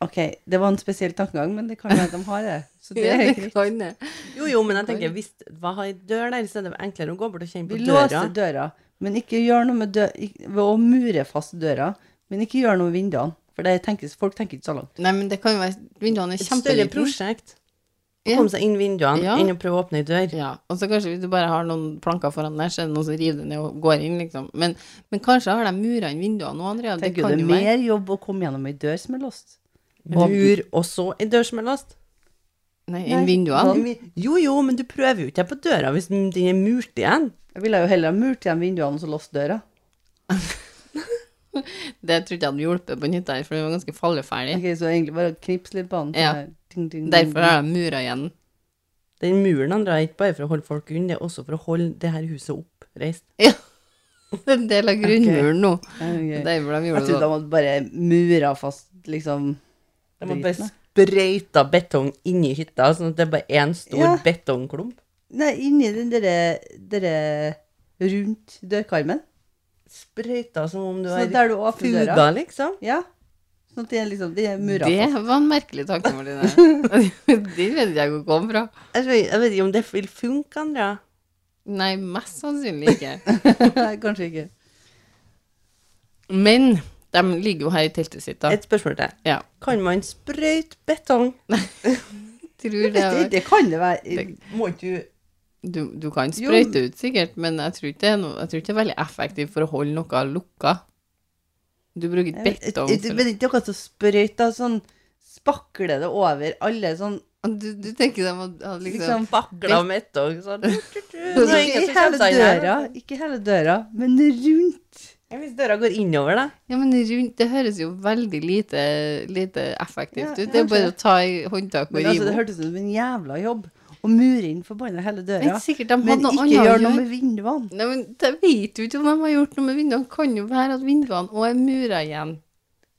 Speaker 3: OK, det var en spesiell tankegang, men det kan være de har det. Så det er greit.
Speaker 1: kan det.
Speaker 2: Jo, jo, men jeg tenker, hvis hva har ei dør der, så er det enklere å gå bort og kjenne
Speaker 3: Vi
Speaker 2: på døra.
Speaker 3: låser døra, men ikke gjør noe med dø ikk- ved å mure fast døra, men ikke gjør noe med vinduene. For det tenkes, folk tenker ikke så langt.
Speaker 1: Nei, men det kan jo være Vinduene er
Speaker 2: Et større
Speaker 1: kjempelitne.
Speaker 2: prosjekt. Å
Speaker 1: Ja.
Speaker 2: komme seg inn vinduene
Speaker 1: Ja.
Speaker 2: enn å prøve å åpne ei dør.
Speaker 1: Ja, og så kanskje hvis du bare har noen planker foran der, så er det noen som river det ned og går inn, liksom. Men, men kanskje har de mura inn vinduene nå, Andrea. Det
Speaker 3: Tenker
Speaker 1: kan jo
Speaker 3: det er
Speaker 1: være.
Speaker 3: mer jobb å komme gjennom ei dør som er låst.
Speaker 2: Mur og så ei dør som er låst.
Speaker 1: Nei,
Speaker 3: Nei.
Speaker 1: enn vinduene.
Speaker 2: Jo, jo, men du prøver jo ikke på døra hvis den den er murt igjen.
Speaker 3: Jeg ville jo heller ha murt igjen vinduene og så låst døra. Sånn.
Speaker 1: Det tror ikke jeg hadde hjulpet på nytt der, for det var ganske falleferdig.
Speaker 3: Ok, så egentlig bare knips litt på den. sånn
Speaker 1: Ja.
Speaker 3: her, ding, ding, ding,
Speaker 1: Derfor
Speaker 3: ding.
Speaker 1: har de mura igjen.
Speaker 2: Den muren han drar ikke bare for å holde folk unna, det er også for å holde det her huset oppreist.
Speaker 1: Det er en del av grunnmuren nå.
Speaker 3: Ja,
Speaker 1: Derfor
Speaker 3: ok.
Speaker 1: de
Speaker 3: Jeg
Speaker 1: gjorde det
Speaker 3: trodde de
Speaker 1: sånn.
Speaker 3: hadde bare mura fast, liksom.
Speaker 2: De har
Speaker 3: Driten,
Speaker 2: bare sprøyta betong inni hytta, sånn at det er bare én stor
Speaker 3: Ja.
Speaker 2: betongklump.
Speaker 3: Nei, inni den derre derre rundt dørkarmen.
Speaker 2: Sprøyta som om du
Speaker 3: Sånn at
Speaker 2: har
Speaker 3: der du åpner døra.
Speaker 2: fuga, liksom.
Speaker 3: Ja. Sånn at det er liksom det er mura
Speaker 1: Det
Speaker 3: fast.
Speaker 1: var en merkelig tanke, Martine. Den vet ikke jeg hvor kom fra.
Speaker 2: Jeg vet, jeg vet ikke om det vil funke, Andrea.
Speaker 1: Nei, mest sannsynlig ikke.
Speaker 3: Nei, Kanskje ikke.
Speaker 1: Men de ligger jo her i teltet sitt, da.
Speaker 2: Et spørsmål til.
Speaker 1: Ja.
Speaker 2: Kan man sprøyte betong?
Speaker 1: Tror det
Speaker 3: Det,
Speaker 1: var
Speaker 3: det kan det være.
Speaker 1: Det-
Speaker 2: Må ikke du
Speaker 1: Du, du kan
Speaker 3: Jo,
Speaker 1: sprøyte ut sikkert, men jeg tror, ikke det er noe, jeg tror ikke det er veldig effektivt for å holde noe lukka. Du bruker
Speaker 3: Jeg
Speaker 1: ikke
Speaker 3: vet-
Speaker 1: betong
Speaker 3: jeg- jeg
Speaker 1: for
Speaker 3: vet ikke akkurat så sprøyt, da. Sånn spakler det over alle sånn
Speaker 1: Du, du tenker deg at at liksom,
Speaker 3: liksom,
Speaker 2: bakla betong sånn?
Speaker 3: Ikke
Speaker 2: Nå er ingen
Speaker 3: i
Speaker 2: som
Speaker 3: hele
Speaker 2: kommer seg inn her.
Speaker 3: døra, ikke hele døra, men rundt.
Speaker 2: Hvis døra går innover, da?
Speaker 1: Ja, men rundt Det høres jo veldig lite, lite effektivt
Speaker 3: Ja,
Speaker 1: ut. Det er
Speaker 3: kanskje
Speaker 1: bare å ta i håndtak og
Speaker 3: Men altså,
Speaker 1: rive
Speaker 3: Det
Speaker 1: opp.
Speaker 3: hørtes ut som en jævla jobb å mure inn forbanna hele
Speaker 1: Men
Speaker 3: døra.
Speaker 1: sikkert de
Speaker 3: Men
Speaker 1: hadde noe
Speaker 3: ikke
Speaker 1: annet å
Speaker 3: gjør
Speaker 1: gjøre.
Speaker 3: noe med vinduene.
Speaker 1: Nei, men Jeg vet jo ikke om de har gjort noe med vinduene. Kan jo være at vinduene òg er mura igjen.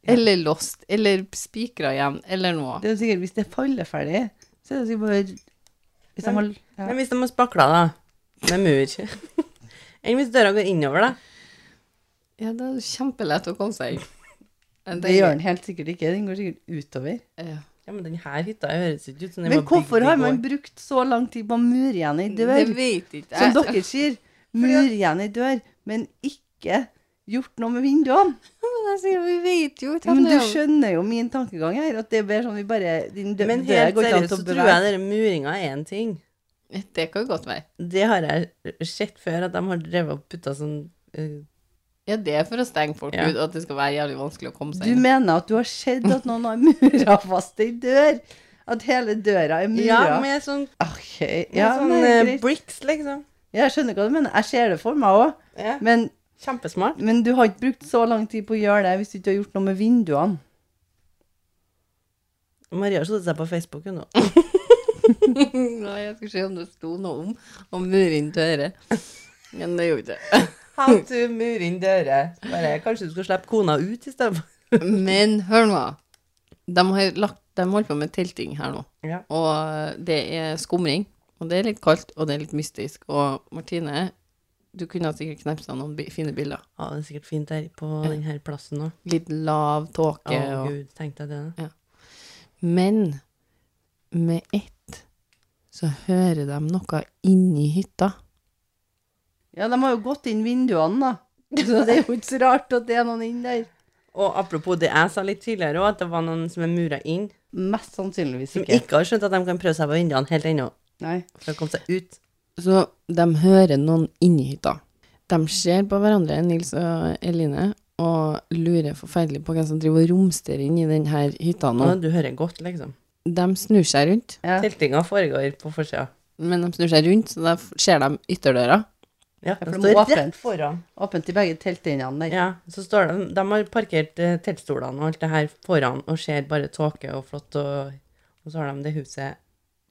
Speaker 1: Eller lost. Eller spikra igjen. Eller noe.
Speaker 3: Det er jo sikkert, Hvis det er falleferdig, så er det sikkert bare Hvis de
Speaker 2: Men-
Speaker 3: har
Speaker 2: Men
Speaker 3: ja.
Speaker 2: hvis de har spakla, da? Med mur? Enn hvis døra går innover, da?
Speaker 1: Ja, det er kjempelett å komme seg inn. Jeg
Speaker 3: Det gjør
Speaker 1: tenker-
Speaker 3: den helt sikkert ikke. Den går sikkert utover.
Speaker 1: Ja.
Speaker 2: Ja, men den her hytta høres ikke ut som den
Speaker 3: Men
Speaker 2: var bygd
Speaker 3: hvorfor
Speaker 2: i
Speaker 3: har
Speaker 2: går.
Speaker 3: man brukt så lang tid på å mure igjen ei dør?
Speaker 1: Det vet ikke jeg.
Speaker 3: Som dere sier, mur igjen ei dør, men ikke gjort noe med vinduene.
Speaker 1: Men jeg sier, vi vet jo ikke.
Speaker 3: Men du
Speaker 1: Andrea.
Speaker 3: skjønner jo min tankegang her, at det er bare sånn vi bare din dø
Speaker 2: Men
Speaker 3: døra
Speaker 2: helt
Speaker 3: går ikke an
Speaker 2: seriøst
Speaker 3: til
Speaker 2: så
Speaker 3: å
Speaker 2: tror jeg
Speaker 3: bevege.
Speaker 2: denne muringa er en ting.
Speaker 1: Det kan jo godt være.
Speaker 2: Det har jeg sett før, at de har drevet og putta sånn eh,
Speaker 1: Ja, det er for å stenge folk
Speaker 2: Ja.
Speaker 1: ut, og at det skal være jævlig vanskelig å komme seg
Speaker 3: Du
Speaker 2: sånn.
Speaker 1: inn.
Speaker 3: mener at du har sett at noen har mura fast ei dør? At hele døra er mura?
Speaker 2: Ja, med sånn,
Speaker 3: OK.
Speaker 2: med
Speaker 3: Ja,
Speaker 2: sånn
Speaker 3: nei,
Speaker 2: eh,
Speaker 3: greit.
Speaker 2: bricks, liksom.
Speaker 3: jeg skjønner hva du mener. Jeg ser det for meg òg.
Speaker 2: Ja.
Speaker 3: Men,
Speaker 2: Kjempesmart.
Speaker 3: men du har ikke brukt så lang tid på å gjøre det hvis du ikke har gjort noe med vinduene.
Speaker 2: Maria har slått seg på Facebook hun nå.
Speaker 1: Nei, jeg skulle se om det sto noe om å mure inn dører. Men det gjorde det.
Speaker 2: How to mur inn dører. Bare, kanskje du skal slippe kona ut istedenfor.
Speaker 1: Men hør nå. De har lagt, de holder på med telting her nå.
Speaker 2: Ja.
Speaker 1: Og det er skumring. Og det er litt kaldt, og det er litt mystisk. Og Martine, du kunne sikkert knepsa noen bi- fine bilder.
Speaker 2: Ja, det er sikkert fint her på denne plassen òg.
Speaker 1: Litt lav
Speaker 2: Å,
Speaker 1: tåke og
Speaker 2: gud, tenkte jeg det. da.
Speaker 1: Men med ett så hører de noe inni hytta.
Speaker 3: Ja, de har jo gått inn vinduene, da. Så det er jo ikke så rart at det er noen inn der.
Speaker 2: Og apropos det jeg sa litt tidligere òg, at det var noen som er mura inn,
Speaker 3: Mest sannsynligvis
Speaker 2: som
Speaker 3: ikke.
Speaker 2: ikke har skjønt at de kan prøve seg på vinduene helt ennå,
Speaker 3: Nei.
Speaker 2: for å komme seg ut.
Speaker 1: Så de hører noen inni hytta. De ser på hverandre, Nils og Eline, og lurer forferdelig på hvem som driver og romsterer inn i denne hytta nå.
Speaker 2: Og du hører godt, liksom.
Speaker 1: De snur seg rundt,
Speaker 3: Ja.
Speaker 2: Teltinga foregår på forsida.
Speaker 1: men de snur seg rundt, så da f- ser de ytterdøra.
Speaker 2: Ja,
Speaker 3: for
Speaker 2: de
Speaker 3: de
Speaker 2: står
Speaker 3: må åpent.
Speaker 2: rett foran.
Speaker 3: Åpent i begge teltendene der.
Speaker 2: Ja, så står de, de har parkert eh, teltstolene og alt det her foran og ser bare tåke og flott, og, og så har de det huset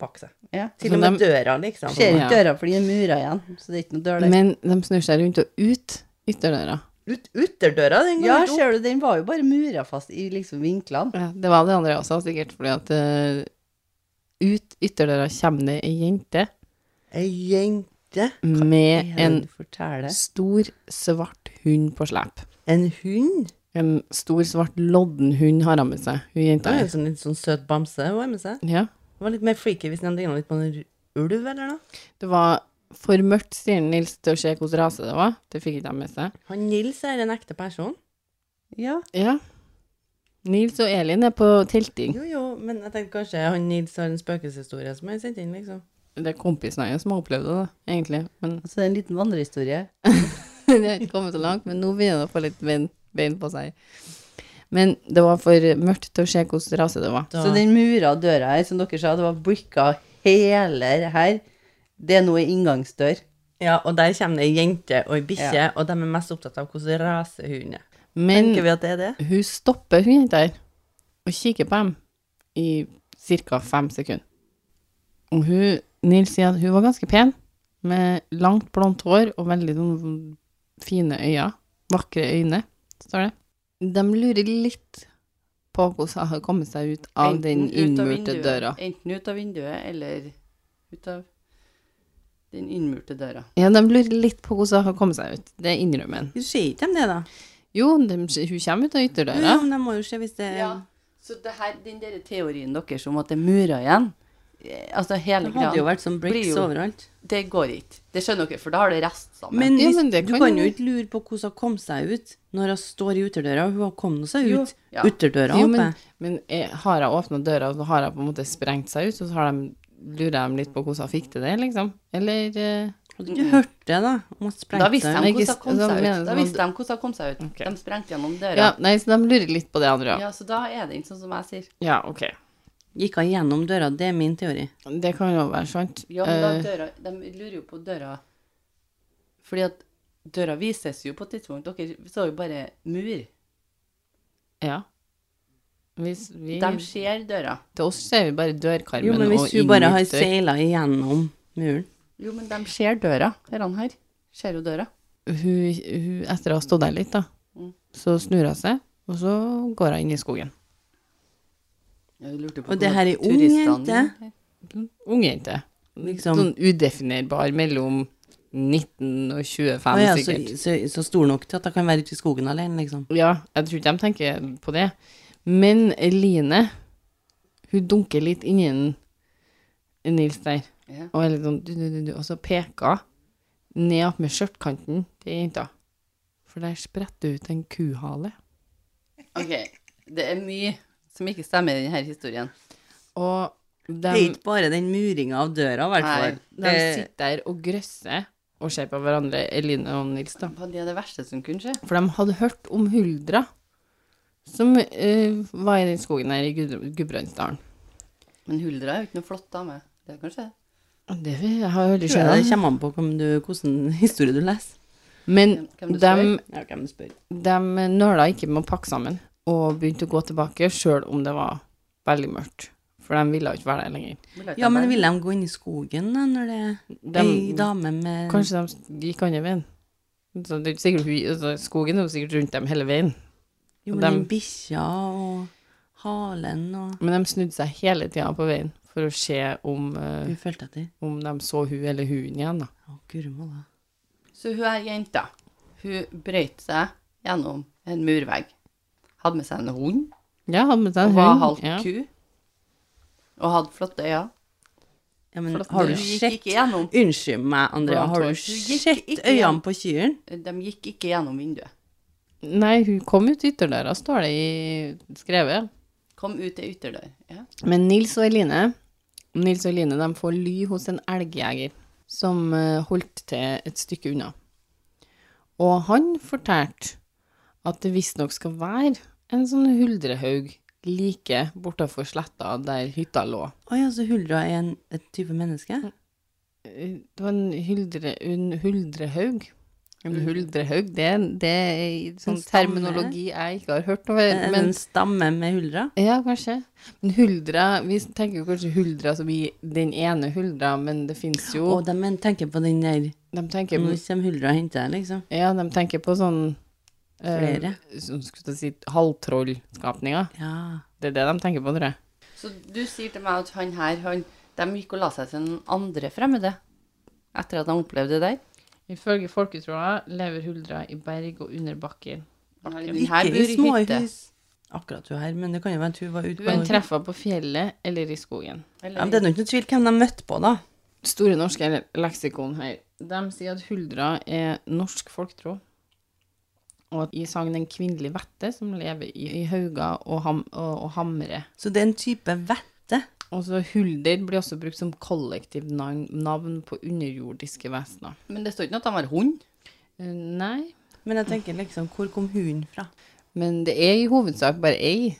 Speaker 2: bak seg.
Speaker 3: Ja.
Speaker 2: Til
Speaker 1: Så
Speaker 2: og med
Speaker 1: de-
Speaker 2: døra, liksom.
Speaker 3: Ser
Speaker 1: Ja.
Speaker 3: ikke døra fordi den er mura igjen, så det er ikke noe dør der.
Speaker 1: Men de snur seg rundt og ut ytterdøra.
Speaker 2: Ut, uterdøra, den går
Speaker 3: Ja,
Speaker 2: ut.
Speaker 3: ser du, den var jo bare mura fast i liksom vinklene.
Speaker 1: Ja, det var det andre også, sikkert fordi at eh, ut ytterdøra kommer det ei jente
Speaker 2: Ei jente.
Speaker 1: med en
Speaker 3: Du forteller.
Speaker 1: stor, svart hund på slep.
Speaker 2: En hund.
Speaker 1: En stor, svart lodden hund har han med seg, hun
Speaker 2: Det
Speaker 1: jenta.
Speaker 2: er
Speaker 1: her.
Speaker 2: en sånn, litt sånn søt bamse hun har med seg.
Speaker 1: Ja.
Speaker 2: Det var litt mer freaky hvis den lignet litt på en ru- ulv eller noe.
Speaker 1: Det var for mørkt, sier Nils, til å se hvilken rase det var. Det fikk ikke de med seg.
Speaker 2: Han Nils er en ekte person.
Speaker 3: Ja.
Speaker 1: Ja. Nils og Elin er på telting.
Speaker 2: Jo, jo, men jeg tenkte kanskje han Nils har en spøkelseshistorie som han sendte inn, liksom.
Speaker 1: Det er kompisen hennes som har opplevd det, da, egentlig. Men
Speaker 3: Altså, det er en liten vandrehistorie.
Speaker 1: det har ikke kommet så langt. Men nå begynner det å få litt bein, bein på seg. Men det var for mørkt til å se hvilken rase det var.
Speaker 2: Da,
Speaker 3: Så den mura døra her, som dere sa, det var bricka hele det her. Det er nå en inngangsdør.
Speaker 2: Ja, og der kommer det ei jente og ei bikkje, og de er mest opptatt av hvordan rase hunden er.
Speaker 1: Men
Speaker 2: Tenker vi at det er det?
Speaker 1: hun stopper hun jenta her og kikker på dem i ca. fem sekunder. Og hun, Nils sier at hun var ganske pen, med langt blondt hår og veldig sånn fine øyne. Vakre øyne, står det. De lurer litt på hvordan hun har kommet seg ut av den innmurte døra.
Speaker 3: Enten ut av vinduet eller ut av den innmurte døra.
Speaker 1: Ja, de lurer litt på hvordan hun har kommet seg ut. Det innrømmer han.
Speaker 2: Sier ikke de det, da?
Speaker 1: Jo, de, hun kommer ut av
Speaker 2: Jo, jo,
Speaker 1: ytterdøra.
Speaker 2: men de må jo se hvis det
Speaker 3: Ja, så det her, den der teorien deres om at det er murer igjen, eh, altså hele
Speaker 2: Det hadde jo
Speaker 3: greia,
Speaker 2: vært som
Speaker 3: Blir
Speaker 2: bricks
Speaker 3: jo-
Speaker 2: overalt.
Speaker 3: det går ikke. Det skjønner dere, for da har det rest sammen.
Speaker 2: Men,
Speaker 1: Ja,
Speaker 2: hvis,
Speaker 1: men det
Speaker 2: du
Speaker 1: kan
Speaker 2: kan
Speaker 1: jo-
Speaker 2: jo ikke lure på hvordan hun kom seg ut når hun står i uterdøra. Hun har kommet seg
Speaker 3: Jo,
Speaker 2: ut.
Speaker 3: ja.
Speaker 2: Uterdøra
Speaker 1: Jo,
Speaker 2: oppe.
Speaker 1: men, men eh, har jeg åpna døra, og så har jeg på en måte sprengt seg ut, og så har de, lurer jeg dem litt på hvordan jeg fikk til det, liksom? Eller eh,
Speaker 2: Hadde du ikke hørt det, da? Om hun sprengte
Speaker 3: da visste
Speaker 2: seg
Speaker 3: de
Speaker 1: ikke-
Speaker 3: hvordan de kom
Speaker 1: da
Speaker 3: seg
Speaker 1: mener de
Speaker 3: ut.
Speaker 1: at-
Speaker 3: Da visste de hvordan de kom seg ut.
Speaker 1: Ok.
Speaker 3: De sprengte gjennom
Speaker 1: ja,
Speaker 3: døra.
Speaker 1: Nei, så de lurer litt på det andre
Speaker 3: Ja.
Speaker 1: òg.
Speaker 3: så da er det ikke sånn som jeg sier.
Speaker 1: Ja, OK.
Speaker 2: Gikk hun gjennom døra? Det er min teori.
Speaker 1: Det kan jo være sant.
Speaker 3: Ja, men da
Speaker 1: Eh,
Speaker 3: døra, de lurer jo på døra Fordi at døra vises jo på et tidspunkt. Dere så jo bare mur.
Speaker 1: Eh, ja. Hvis vi,
Speaker 3: De ser døra.
Speaker 1: til oss ser vi bare dørkarmen
Speaker 2: Jo, men hvis
Speaker 1: og
Speaker 2: hun bare har
Speaker 1: innmurte dør.
Speaker 2: seila igjennom muren
Speaker 3: Jo, men de ser døra. Herrene her ser jo døra.
Speaker 1: hun, hun, Etter å ha stått der litt, da,
Speaker 3: Mm.
Speaker 1: så snur hun seg, og så går hun inn i skogen.
Speaker 3: Jeg lurte på
Speaker 2: Og det
Speaker 3: hvordan
Speaker 2: her er ung
Speaker 3: turistene-
Speaker 2: jente.
Speaker 1: Ung jente.
Speaker 2: Liksom.
Speaker 1: Sånn udefinerbar mellom 19 og 25,
Speaker 2: Å ja, så,
Speaker 1: sikkert.
Speaker 2: altså så, så stor nok til at hun kan være ute i skogen alene, liksom.
Speaker 1: Ja, jeg tror ikke de tenker på det. Men Line, hun dunker litt innen Nils der,
Speaker 3: Ja.
Speaker 1: og, er litt sånn, du, du, du, du, og så peker hun ned opp med skjørtkanten til jenta. For der spretter ut en kuhale.
Speaker 3: Ok, det er mye som ikke stemmer i denne historien.
Speaker 1: Og de,
Speaker 2: Det er ikke bare den muringa av døra, i hvert
Speaker 3: Nei,
Speaker 2: fall. Eh,
Speaker 1: de
Speaker 2: Det-
Speaker 1: sitter der og grøsser og ser på hverandre, Eline og Nils, da.
Speaker 3: Hva er det verste som kunne skje?
Speaker 1: For de hadde hørt om huldra, som eh, var i den skogen her i Gud- Gudbrandsdalen.
Speaker 3: Men Huldra er jo ikke noe flott dame. Det er kanskje det.
Speaker 1: Og Det jeg har jeg aldri
Speaker 2: Tror jeg Det
Speaker 1: sett.
Speaker 2: kommer an på hvem du, hvordan historie du leser.
Speaker 1: Men
Speaker 3: Hvem
Speaker 1: de
Speaker 3: du spør.
Speaker 2: Ja, hvem du spør.
Speaker 1: De nøla ikke med å pakke sammen og begynte å gå tilbake, sjøl om det var veldig mørkt. For de ville jo ikke være der lenger.
Speaker 2: Ja, men vil de gå inn i skogen da, når det er
Speaker 1: De,
Speaker 2: ei dame med
Speaker 1: kanskje de gikk andre veien. Så det er ikke sikkert, hun- altså, skogen er jo sikkert rundt dem hele veien.
Speaker 2: Jo, men
Speaker 1: dem-
Speaker 2: den bikkja og halen og
Speaker 1: Men de snudde seg hele tida på veien for å se om, eh,
Speaker 2: Hun fulgte etter.
Speaker 1: om de så hun eller hunden igjen. Da.
Speaker 2: Å, gurmala.
Speaker 3: Så hun her jenta, hun brøyt seg gjennom en murvegg. Hadde med seg en hund,
Speaker 1: Ja, hadde med seg en
Speaker 3: og var
Speaker 1: hund,
Speaker 3: halvt
Speaker 1: ja.
Speaker 3: ku. Og hadde flotte øyne.
Speaker 2: Ja, men
Speaker 1: Flott.
Speaker 2: har du
Speaker 3: Hun gikk
Speaker 2: sett
Speaker 3: ikke gjennom,
Speaker 2: Unnskyld meg, Andrea.
Speaker 1: Blant
Speaker 2: Har
Speaker 1: år.
Speaker 2: du
Speaker 3: gikk
Speaker 2: sett
Speaker 3: ikke igjen.
Speaker 2: øynene på kyrne?
Speaker 3: de gikk ikke gjennom vinduet.
Speaker 1: Nei, hun kom ut ytterdøra, står det i skrevet.
Speaker 3: Kom ut ei ytterdør. Ja.
Speaker 1: Men Nils og Eline, Nils og Eline de får ly hos en elgjeger som eh, holdt til et stykke unna. Og han fortalte at det visstnok skal være en sånn huldrehaug like bortafor sletta der hytta lå.
Speaker 2: Å ja, så huldra er en et type menneske?
Speaker 1: Eh, Det var en, huldre, en huldrehaug. En huldrehaug, det, er en- det er en sånn
Speaker 2: Mm. stamme.
Speaker 1: terminologi jeg ikke har hørt over.
Speaker 2: En,
Speaker 1: men-
Speaker 2: en stamme med huldra?
Speaker 1: Ja, kanskje. Men huldra Vi tenker jo kanskje huldra som i den ene huldra, men det fins jo
Speaker 2: Og de men- tenker på den der
Speaker 1: de, tenker,
Speaker 2: Nå kommer huldra og henter deg, liksom.
Speaker 1: ja, de tenker på sånn eh,
Speaker 2: Flere.
Speaker 1: Sånn skulle jeg si halvtrollskapninger.
Speaker 2: Ja.
Speaker 1: Det er det de tenker på, tror jeg.
Speaker 3: Så du sier til meg at han her, han, de gikk og la seg til den andre fremmede etter at de opplevde det der.
Speaker 1: Ifølge folketroa lever huldra i berg og under bakken.
Speaker 3: Den
Speaker 2: Ikke
Speaker 3: her
Speaker 2: i
Speaker 3: bor i hytte.
Speaker 2: småhus. Akkurat hun her, men det kan jo være at hun var ute
Speaker 1: Hun er
Speaker 2: på
Speaker 1: treffa på fjellet eller i skogen.
Speaker 2: ja, men Det er nok noe tvil hvem de møtte på, da.
Speaker 1: Store norske leksikon her. De sier at huldra er norsk folketro. Og at i sagn en kvinnelig vette som lever i, i hauger og, ham, og, og hamre.
Speaker 2: Så det er en type vette.
Speaker 1: Og så Altså, hulder blir også brukt som kollektivt navn, navn på underjordiske vesener.
Speaker 3: Men det står ikke noe at de har hund.
Speaker 1: Eh, Nei,
Speaker 2: Men jeg tenker liksom, hvor kom hunden fra?
Speaker 1: men det er i hovedsak bare ei.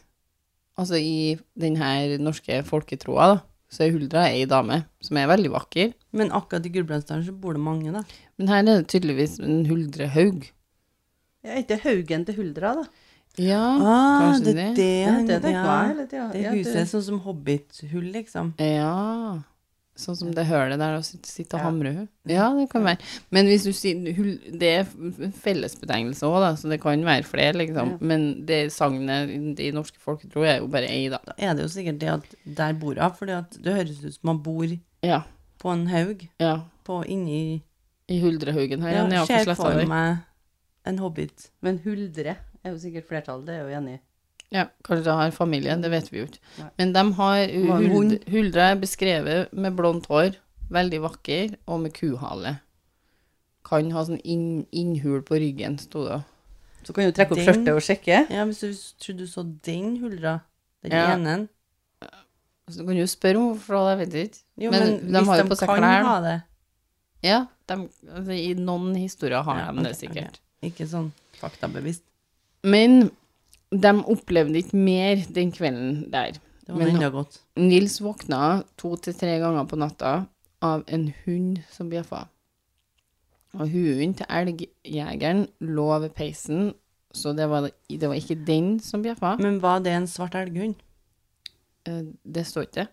Speaker 1: Altså i denne norske folketroa, da, så er huldra ei dame som er veldig vakker.
Speaker 2: Men akkurat i Gudbrandsdalen så bor det mange, da.
Speaker 1: Men her er det tydeligvis en huldrehaug.
Speaker 3: Ja, ikke Haugen til Huldra, da.
Speaker 1: Ja,
Speaker 2: Ah,
Speaker 1: kanskje
Speaker 2: det
Speaker 1: det.
Speaker 2: er det, Det huset er sånn som hobbithull, liksom.
Speaker 1: Ja. Sånn som det hølet der, og sitte, sitte og hamre hun. Ja, det kan være. Men hvis du sier hul- Det er en fellesbetegnelse òg, da, så det kan være flere, liksom. Men det sagnet i norske folketro er jo bare ei, da.
Speaker 2: Da er det jo sikkert det at der bor hun, for det høres ut som hun bor
Speaker 1: Ja.
Speaker 2: på en haug
Speaker 1: ja.
Speaker 2: på inni
Speaker 1: I Huldrehaugen her, ja,
Speaker 2: Ja,
Speaker 1: nede på
Speaker 2: ser
Speaker 1: sletta
Speaker 2: for
Speaker 1: der.
Speaker 2: meg en hobbit.
Speaker 3: Men Huldre er jo sikkert flertallet, det er jeg jo enig i.
Speaker 1: Ja, kanskje de har familie, det vet vi jo ikke.
Speaker 3: Nei.
Speaker 1: Men de har
Speaker 2: Må ha en hund.
Speaker 1: huld, Huldra er beskrevet med blondt hår, veldig vakker, og med kuhale. Kan ha sånn inn, innhul på ryggen, sto det.
Speaker 3: Så kan du trekke opp
Speaker 2: Den-
Speaker 3: skjørtet og sjekke.
Speaker 2: Ja, hvis du trodde du så den huldra, den
Speaker 1: Ja.
Speaker 2: ene.
Speaker 1: Så Altså, du kan jo spørre om hvorfor, da, jeg vet ikke.
Speaker 2: Jo,
Speaker 1: Men
Speaker 2: men,
Speaker 1: de
Speaker 2: hvis
Speaker 1: har jo
Speaker 2: de
Speaker 1: på seg
Speaker 2: kan
Speaker 1: klær, da.
Speaker 2: ha det.
Speaker 1: Ja, dem- altså, i noen historier har
Speaker 2: Ja,
Speaker 1: de det
Speaker 2: ok, ok.
Speaker 1: sikkert.
Speaker 2: Ikke sånn faktabevist.
Speaker 1: Men de opplevde ikke mer den kvelden der.
Speaker 2: Det var
Speaker 1: Men-
Speaker 2: enda godt.
Speaker 1: Nils våkna to til tre ganger på natta av en hund som bjeffa. Og hunden til elgjegeren lå ved peisen, så det var, det var ikke den som bjeffa.
Speaker 2: Men var det en svart elghund?
Speaker 1: Eh, Det står ikke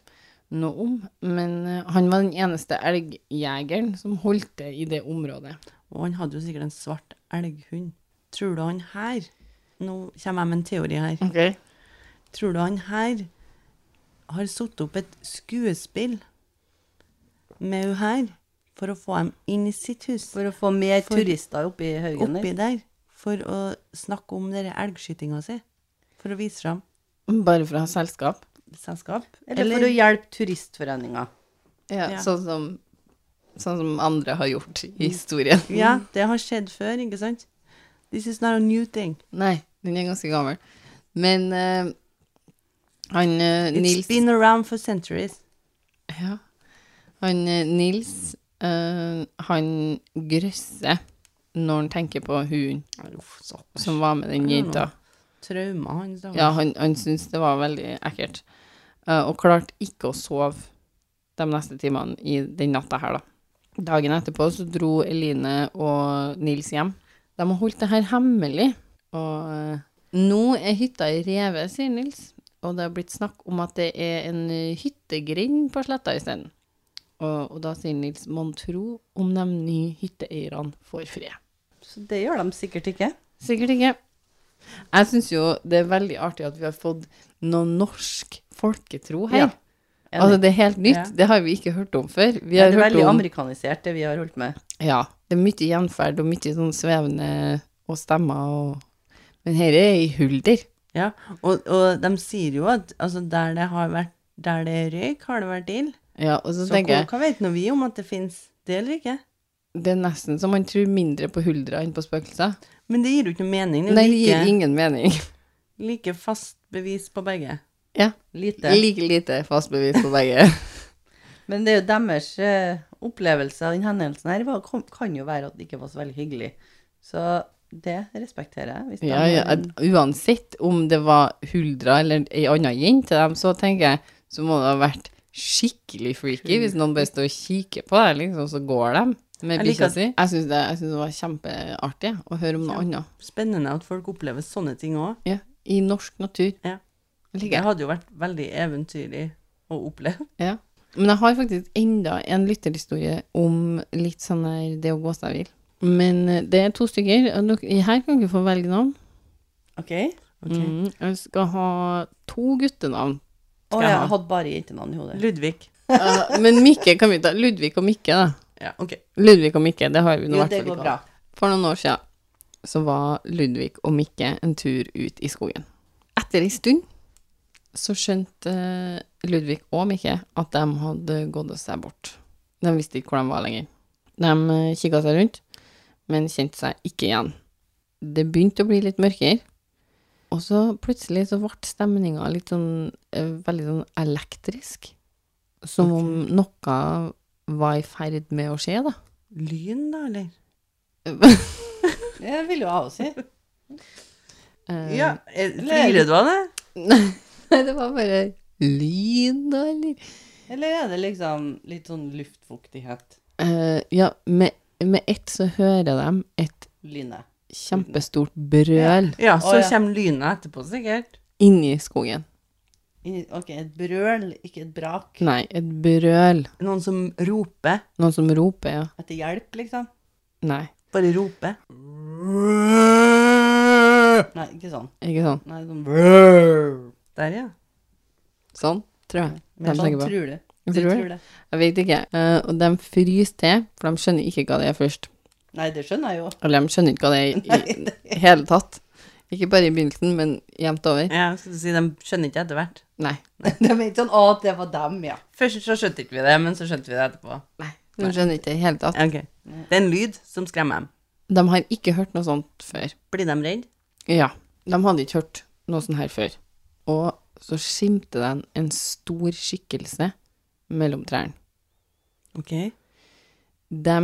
Speaker 1: noe om, men eh, han var den eneste elgjegeren som holdt til i det området.
Speaker 2: Og han hadde jo sikkert en svart elghund. Tror du han her Nå kommer jeg med en teori her.
Speaker 1: Okay.
Speaker 2: Tror du han her har satt opp et skuespill med hun her for å få dem inn i sitt hus?
Speaker 3: For å få mer
Speaker 2: For-
Speaker 3: turister oppi Haugen der.
Speaker 2: Oppi der. For å snakke om denne elgskytinga si. For å vise fram
Speaker 1: Bare for å ha selskap.
Speaker 2: selskap.
Speaker 3: Eller, for å hjelpe Turistforeninga.
Speaker 1: Ja,
Speaker 2: Ja.
Speaker 1: Sånn, som, sånn som andre har gjort i historien.
Speaker 2: Ja, det har skjedd før, ikke sant? This is not a new thing.
Speaker 1: Nei, den er ganske gammel. Men eh, han eh,
Speaker 2: It's
Speaker 1: Nils
Speaker 2: been around for centuries.
Speaker 1: ja, Han eh, Nils, eh, han grøsser når han tenker på hunden
Speaker 2: Uff, stakkars.
Speaker 1: som var med den
Speaker 2: Ja,
Speaker 1: jenta.
Speaker 2: Trauma, han. stakkars.
Speaker 1: Ja, han, han syntes det var veldig ekkelt. eh, og klarte ikke å sove de neste timene i den natta her, da. Dagen etterpå så dro Eline og Nils hjem. De har holdt det her hemmelig. Og eh, nå er hytta i revet, sier Nils. og det har blitt snakk om at det er en eh, hyttegrind på sletta isteden. Og, og da sier Nils mon tro om de nye hytteeierne får fred.
Speaker 3: Så det gjør de sikkert ikke.
Speaker 1: Sikkert ikke. Jeg syns jo det er veldig artig at vi har fått noe norsk folketro her.
Speaker 3: Ja, enig.
Speaker 1: altså, det er helt nytt.
Speaker 2: Ja.
Speaker 1: Det har vi ikke hørt om før. Vi
Speaker 3: Det
Speaker 1: har
Speaker 3: er
Speaker 1: hørt
Speaker 3: veldig
Speaker 1: om
Speaker 3: amerikanisert, det vi har holdt med.
Speaker 1: Ja. Det er mye gjenferd og mye sånn svevende og stemmer og Men her er ei hulder.
Speaker 2: Ja, og, og de sier jo at altså, der, det har vært, der det er røyk, har det vært ild.
Speaker 1: Ja, og så,
Speaker 2: Så
Speaker 1: tenker
Speaker 2: hva,
Speaker 1: jeg
Speaker 2: hva vet nå vi om at det fins det eller ikke?
Speaker 1: Det er nesten så man tror mindre på huldra enn på spøkelser.
Speaker 2: Men det gir jo ikke noe mening. Det
Speaker 1: Nei,
Speaker 2: er
Speaker 1: det gir
Speaker 2: like,
Speaker 1: ingen mening.
Speaker 2: like fast bevis på begge.
Speaker 1: Ja.
Speaker 3: Lite.
Speaker 1: Like lite fast bevis på begge.
Speaker 3: Men det er jo deres eh, opplevelse av den hendelsen her var, kom, kan jo være at det ikke var så veldig hyggelig. Så det respekterer jeg. Hvis de
Speaker 1: Ja,
Speaker 3: har
Speaker 1: ja,
Speaker 3: en-
Speaker 1: at uansett om det var huldra eller ei anna jente til dem, så tenker jeg, så må det ha vært skikkelig freaky hvis noen bare står og kikker på deg, liksom, så går de med
Speaker 2: Jeg liker
Speaker 1: bikkja
Speaker 2: at-
Speaker 1: si. Jeg syns det, jeg synes det var kjempeartig å høre om noe annet.
Speaker 2: Spennende at folk opplever sånne ting òg.
Speaker 1: Ja, I norsk natur.
Speaker 2: Ja.
Speaker 1: Jeg
Speaker 2: Det
Speaker 1: liker det.
Speaker 2: hadde jo vært veldig eventyrlig å oppleve.
Speaker 1: Ja. Men jeg har faktisk enda en lytterhistorie om litt sånn her det å gå seg vill. Men eh, det er to stykker, og dere- her kan dere få velge navn.
Speaker 3: Ok.
Speaker 2: Ok.
Speaker 1: Mm, jeg skal ha to guttenavn.
Speaker 3: Å,
Speaker 2: jeg
Speaker 3: jeg
Speaker 2: ha?
Speaker 3: hadde bare jentenavn i hodet.
Speaker 2: Ludvig.
Speaker 1: Ja, men Mikke kan vi ta. Ludvig og Mikke, da.
Speaker 2: Ja, ok.
Speaker 1: Ludvig og Mikke, det har vi nå i
Speaker 3: Jo,
Speaker 1: hvert
Speaker 3: det
Speaker 1: fall
Speaker 3: går
Speaker 1: ikke
Speaker 3: bra.
Speaker 1: hatt. For noen år siden så var Ludvig og Mikke en tur ut i skogen. Etter en stund så skjønte eh, Ludvig og Mikke at de hadde gått seg bort. De visste ikke hvor de var lenger. De kikka seg rundt, men kjente seg ikke igjen. Det begynte å bli litt mørkere, og så plutselig så ble stemninga litt sånn eh, veldig sånn elektrisk. Som om noe var i ferd med å skje, da.
Speaker 2: Lyn, da, eller?
Speaker 3: Det vil jo jeg også si.
Speaker 1: Eh,
Speaker 2: Ja, eh, Flirer du av det?
Speaker 1: Nei, det var bare lyn, da, eller?
Speaker 3: Eller er det liksom litt sånn luftfuktighet?
Speaker 1: Eh, ja, med, med ett så hører de et
Speaker 3: Lynet.
Speaker 1: kjempestort brøl
Speaker 2: Ja, så
Speaker 3: Å, ja.
Speaker 2: kommer lynet etterpå, sikkert.
Speaker 1: inni skogen.
Speaker 3: Inni- Ok, et brøl, ikke et brak.
Speaker 1: Nei, et brøl.
Speaker 2: Noen som roper.
Speaker 1: Noen som roper, ja.
Speaker 3: Etter hjelp, liksom.
Speaker 1: Nei,
Speaker 2: Bare roper.
Speaker 3: Nei, ikke sånn.
Speaker 1: ikke sånn.
Speaker 3: Nei, sånn
Speaker 2: Der, ja.
Speaker 1: Sånn, tror jeg.
Speaker 3: Mer
Speaker 1: De
Speaker 3: sånn
Speaker 1: tenker på.
Speaker 3: tror du.
Speaker 1: Tror
Speaker 3: Du
Speaker 1: du?
Speaker 3: tror det.
Speaker 1: Jeg vet ikke. Eh, og de fryser til, for de skjønner ikke hva det er først.
Speaker 3: Nei, det skjønner jeg jo.
Speaker 1: Eller de skjønner ikke hva det er i, i hele tatt. Ikke bare i begynnelsen, men jevnt over.
Speaker 2: ja skal du si, de skjønner ikke etter hvert.
Speaker 1: Nei.
Speaker 3: Det er ikke sånn 'Å, det var dem', ja.
Speaker 2: Først så skjønte ikke vi det, men så skjønte vi det etterpå.
Speaker 1: Nei. De skjønner ikke det i hele tatt.
Speaker 2: Ja, ok. Det er en lyd som skremmer dem.
Speaker 1: De har ikke hørt noe sånt før.
Speaker 2: Blir de redde?
Speaker 1: Ja, de hadde ikke hørt noe sånt her før. Og så skimte de en stor skikkelse mellom trærne.
Speaker 2: Ok.
Speaker 1: De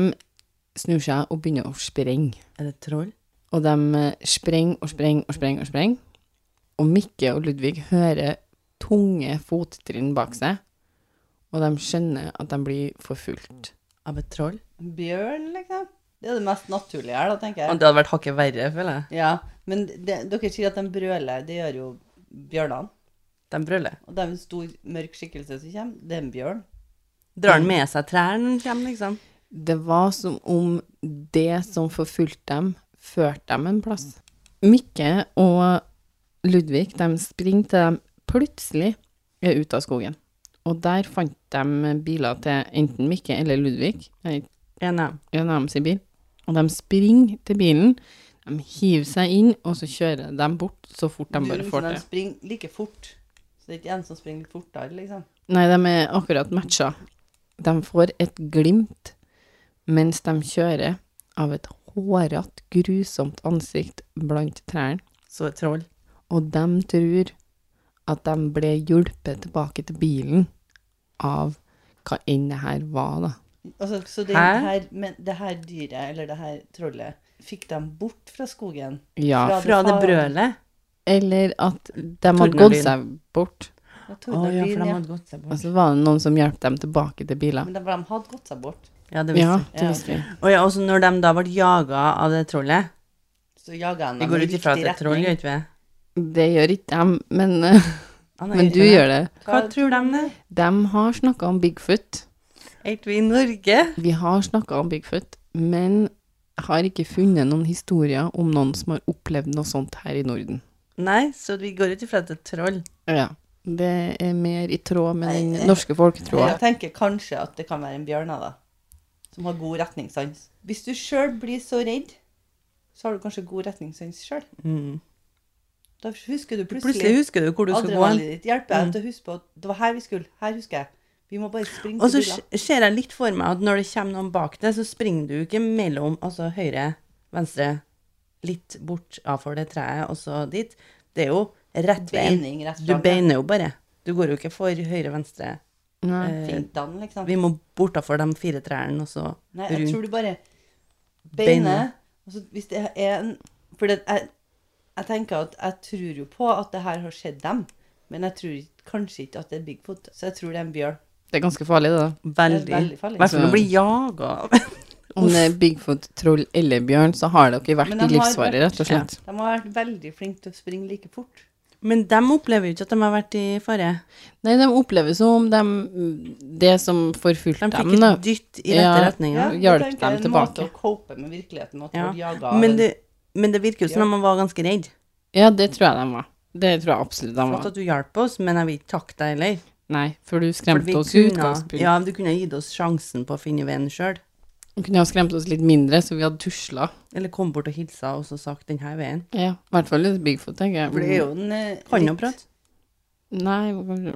Speaker 1: snur seg og begynner å sprenge.
Speaker 2: Er det troll?
Speaker 1: Og de eh, sprenger og sprenger og sprenger og sprenger. Og Mikke og Ludvig hører tunge fottrinn bak seg, og de skjønner at de blir forfulgt.
Speaker 2: Av et troll?
Speaker 3: Bjørn, liksom. Det er det mest naturlige her, da, tenker
Speaker 2: Og
Speaker 3: jeg.
Speaker 2: det hadde vært hakket verre, føler jeg.
Speaker 3: Ja, Men det, dere sier at de brøler. Det gjør jo bjørnene.
Speaker 2: De brøler.
Speaker 3: Og det er en stor, mørk skikkelse som kommer. Det er en bjørn.
Speaker 2: Drar den med seg trærne når den kommer, liksom?
Speaker 1: Det var som om det som forfulgte dem, førte dem en plass. Mikke og Ludvig de springer til de plutselig er ute av skogen. Og der fant de biler til enten Mikke eller Ludvig. Jeg
Speaker 2: En av dem.
Speaker 1: jeg nærmer seg bil. Og de springer til bilen. De hiver seg inn, og så kjører de bort så fort de
Speaker 3: Du,
Speaker 1: bare
Speaker 3: liksom,
Speaker 1: får
Speaker 3: de
Speaker 1: det.
Speaker 3: springer like fort. Så det er ikke en som springer litt fortere, liksom.
Speaker 1: Nei, de er akkurat matcha. De får et glimt mens de kjører av et hårete, grusomt ansikt blant trærne,
Speaker 2: Så et troll.
Speaker 1: og de tror at de ble hjulpet tilbake til bilen av hva enn det her var, da.
Speaker 3: Altså, så det,
Speaker 2: Hæ?
Speaker 3: her, men det her dyret, eller det her trollet, fikk dem bort fra skogen?
Speaker 1: Ja,
Speaker 3: Fra
Speaker 2: Fra det
Speaker 3: far-
Speaker 2: brølet.
Speaker 1: eller at de hadde
Speaker 2: Tordenlyn.
Speaker 1: gått seg bort,
Speaker 2: Å
Speaker 3: fra
Speaker 2: ja,
Speaker 3: Tordenlyn,
Speaker 2: for de
Speaker 3: ja.
Speaker 2: hadde gått seg
Speaker 1: og
Speaker 2: bort.
Speaker 1: så var det noen som hjalp dem tilbake til bilen.
Speaker 3: Men de, de hadde gått seg bort.
Speaker 2: Ja, det
Speaker 1: Ja,
Speaker 2: visste
Speaker 1: det visste vi.
Speaker 2: Og ja, også når de da ble jaga av det trollet.
Speaker 3: Så jaga han
Speaker 2: Vi
Speaker 3: dem
Speaker 2: går
Speaker 3: i
Speaker 2: ut ifra at
Speaker 3: riktig
Speaker 2: det er troll,
Speaker 3: retning.
Speaker 2: gjør ikke vi?
Speaker 1: Det gjør ikke dem, men eh,
Speaker 2: Ah, nei,
Speaker 1: Men du gjør det.
Speaker 2: Hva tror de det?
Speaker 1: De har snakka om Bigfoot.
Speaker 2: Er ikke vi i Norge?
Speaker 1: Vi har snakka om Bigfoot, men har ikke funnet noen historier om noen som har opplevd noe sånt her i Norden.
Speaker 2: Nei, så vi går ut ifra at det er troll.
Speaker 1: Ja. Det er mer i tråd med den norske folketroa.
Speaker 3: Jeg tenker kanskje at det kan være en bjørn, da. Som har god retningssans. Hvis du sjøl blir så redd, så har du kanskje god retningssans sjøl. Da husker du
Speaker 2: Mm. Plutselig
Speaker 3: plutselig
Speaker 2: husker du hvor du skal gå. Mm.
Speaker 3: Adrenalinet ditt hjelper deg til å huske på at det var her vi skulle. Her husker jeg. Vi må bare springe
Speaker 2: Og så
Speaker 3: til bilen.
Speaker 2: s- ser jeg litt for meg at når det kommer noen bak deg, så springer du ikke mellom altså høyre, venstre, litt bort av for det treet, og så dit. Det er jo rett vei.
Speaker 3: Beining rett
Speaker 2: Du
Speaker 3: fram.
Speaker 2: beiner jo bare. Du går jo ikke for høyre, venstre.
Speaker 1: Nei.
Speaker 2: Eh.
Speaker 3: Fintene, liksom.
Speaker 2: Vi må bortafor de fire trærne, og så
Speaker 3: Nei, jeg
Speaker 2: rundt.
Speaker 3: tror du bare
Speaker 2: Beinet.
Speaker 3: beiner. Og så hvis det er en For det, jeg, jeg tenker at jeg tror jo på at det her har skjedd dem, men jeg tror ikke- kanskje ikke at det er Bigfoot. Så jeg tror det er en bjørn.
Speaker 1: Det er ganske farlig, det. da.
Speaker 2: Veldig.
Speaker 3: Det er veldig farlig.
Speaker 2: I hvert fall når
Speaker 1: Altså-
Speaker 2: du blir jaga.
Speaker 1: Om det er Bigfoot, troll eller bjørn, så har dere vært
Speaker 3: Men
Speaker 1: i
Speaker 3: de har
Speaker 1: livsfare,
Speaker 3: vært-
Speaker 1: rett og slett.
Speaker 3: De har vært veldig flinke til å springe like fort.
Speaker 2: Men de opplever jo ikke at de har vært i fare.
Speaker 1: Nei, de opplever som de, det som
Speaker 2: De
Speaker 1: forfulgte
Speaker 2: fikk
Speaker 1: dem, da.
Speaker 2: et dytt i rette
Speaker 1: Ja.
Speaker 2: retning.
Speaker 1: Ja.
Speaker 3: det
Speaker 1: Hjalp
Speaker 3: tenker jeg
Speaker 1: dem
Speaker 3: er
Speaker 1: tilbake.
Speaker 3: En måte å cope med virkeligheten at
Speaker 2: Ja.
Speaker 3: du jager av
Speaker 2: Men,
Speaker 3: en-
Speaker 2: det, men det virker jo som
Speaker 3: Ja.
Speaker 2: om de var ganske redd.
Speaker 1: Ja, det tror jeg de var. Det tror jeg absolutt de
Speaker 2: Flott
Speaker 1: var.
Speaker 2: at du hjalp oss, men jeg vil ikke takke deg heller.
Speaker 1: Nei, for du
Speaker 2: For vi
Speaker 1: skremte oss i
Speaker 2: kunne-
Speaker 1: utgangspunktet.
Speaker 2: Ja, du kunne gitt oss sjansen på å finne veien sjøl.
Speaker 1: Du kunne ha skremt oss litt mindre, så vi hadde tusla.
Speaker 2: Eller kom bort og hilsa og så sagt 'den her veien'.
Speaker 1: Ja, I hvert fall litt Bigfoot, tenker jeg.
Speaker 3: For det er jo en eh,
Speaker 2: Kan jo
Speaker 3: litt-
Speaker 2: prate.
Speaker 1: Nei, hva kan du
Speaker 2: Er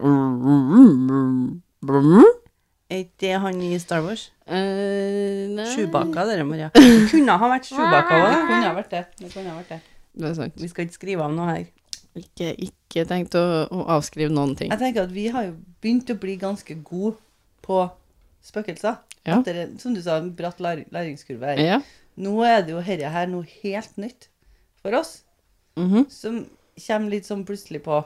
Speaker 2: ikke det han i Star Wars?
Speaker 1: Eh, nei.
Speaker 2: Sjubakka, dere, Maria. Det kunne ha vært Sjubakka
Speaker 3: Det
Speaker 2: òg, da.
Speaker 3: kunne ha vært det. Det kunne ha vært det.
Speaker 1: Det er sant.
Speaker 2: Vi skal ikke skrive av noe her.
Speaker 1: Ikke, ikke tenkt å, å avskrive noen ting.
Speaker 3: Jeg tenker at vi har jo begynt å bli ganske gode på spøkelser.
Speaker 1: Ja.
Speaker 3: Etter en- som du sa, en bratt lær læringskurve her.
Speaker 1: Ja.
Speaker 3: Nå er det jo herre her noe helt nytt for oss,
Speaker 1: mhm.
Speaker 3: som kommer litt sånn plutselig på.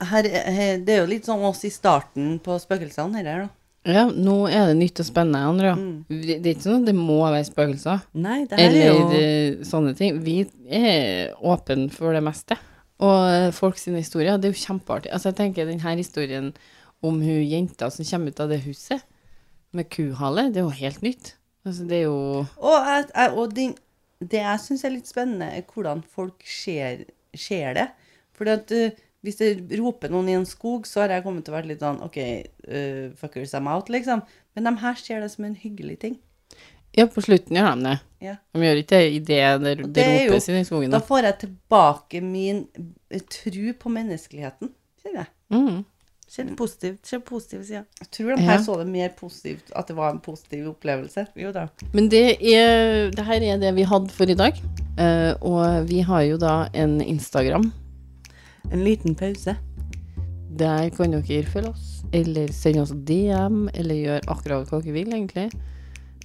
Speaker 3: Her, er- her, det er jo litt sånn oss i starten på spøkelsene, herre her, da.
Speaker 1: ja, nå er det nytt og spennende, Andrea.
Speaker 3: Mm.
Speaker 1: Det det er ikke sånn at det må være spøkelser.
Speaker 2: Nei, det her er
Speaker 1: Eller
Speaker 2: jo
Speaker 1: eh, sånne ting. Vi er åpne for det meste. Og eh, folk sine historier, det er jo kjempeartig. Altså, jeg tenker den her historien om hun jenta som kommer ut av det huset med kuhale, det er jo helt nytt. Altså, det er jo
Speaker 3: Og, jeg, jeg, og den, det jeg syns er litt spennende, er hvordan folk ser, ser det. For at, eh, hvis det roper noen i en skog, så har jeg kommet til å være litt sånn OK, eh, fuckers, I'm out, liksom. Men de her ser det som en hyggelig ting.
Speaker 1: Ja, på slutten gjør de det.
Speaker 3: Ja.
Speaker 1: De gjør ikke det i det det,
Speaker 3: Og
Speaker 1: det
Speaker 3: det er jo-
Speaker 1: ropes i den skogen.
Speaker 3: Da
Speaker 1: Da.
Speaker 3: får jeg tilbake min eh, tru på menneskeligheten, kjenner jeg.
Speaker 1: Mm.
Speaker 2: Se det positivt. Se positive sider.
Speaker 3: Jeg tror de her
Speaker 1: Ja.
Speaker 3: så det mer positivt, at det var en positiv opplevelse. Jo da.
Speaker 1: Men det, er, det her er det vi hadde for i dag. Eh, og vi har jo da en Instagram.
Speaker 2: En liten pause.
Speaker 1: Der kan dere følge oss, eller sende oss DM, eller gjøre akkurat hva dere vil, egentlig.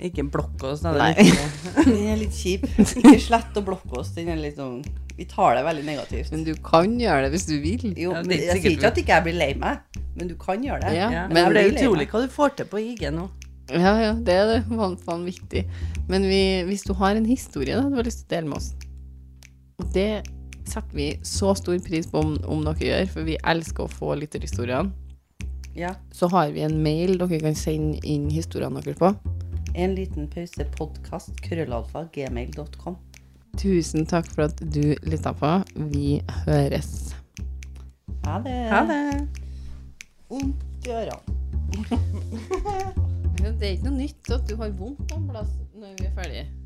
Speaker 2: Ikke blokke oss, da.
Speaker 1: Nei.
Speaker 2: Det er litt-
Speaker 3: Den er litt kjip. Ikke slett å blokke oss. Den er litt sånn Vi tar det veldig negativt.
Speaker 1: Men du kan gjøre det hvis du vil.
Speaker 3: Jo,
Speaker 2: Ja,
Speaker 3: men
Speaker 2: det er
Speaker 3: jeg
Speaker 2: sikkert
Speaker 3: sier ikke at ikke jeg blir lei meg, men du kan gjøre det.
Speaker 1: Ja,
Speaker 2: ja.
Speaker 1: men
Speaker 2: Men det er
Speaker 3: jeg blir lei
Speaker 2: utrolig hva du får til på IG nå.
Speaker 1: Ja, ja, det er det. Van, vanvittig. Men vi, hvis du har en historie da, du har lyst til å dele med oss, og det setter vi så stor pris på om, om dere gjør, for vi elsker å få lytterhistoriene,
Speaker 3: meg. Ja.
Speaker 1: så har vi en mail dere kan sende inn historiene deres på.
Speaker 3: En liten pause podkast krøllalfa gmail.com.
Speaker 1: Tusen takk for at du lytta på. Vi høres.
Speaker 3: Ha det.
Speaker 2: Ha det.
Speaker 3: Vondt i ørene.
Speaker 1: Det er ikke noe nytt at du har vondt noen plass når vi er ferdige.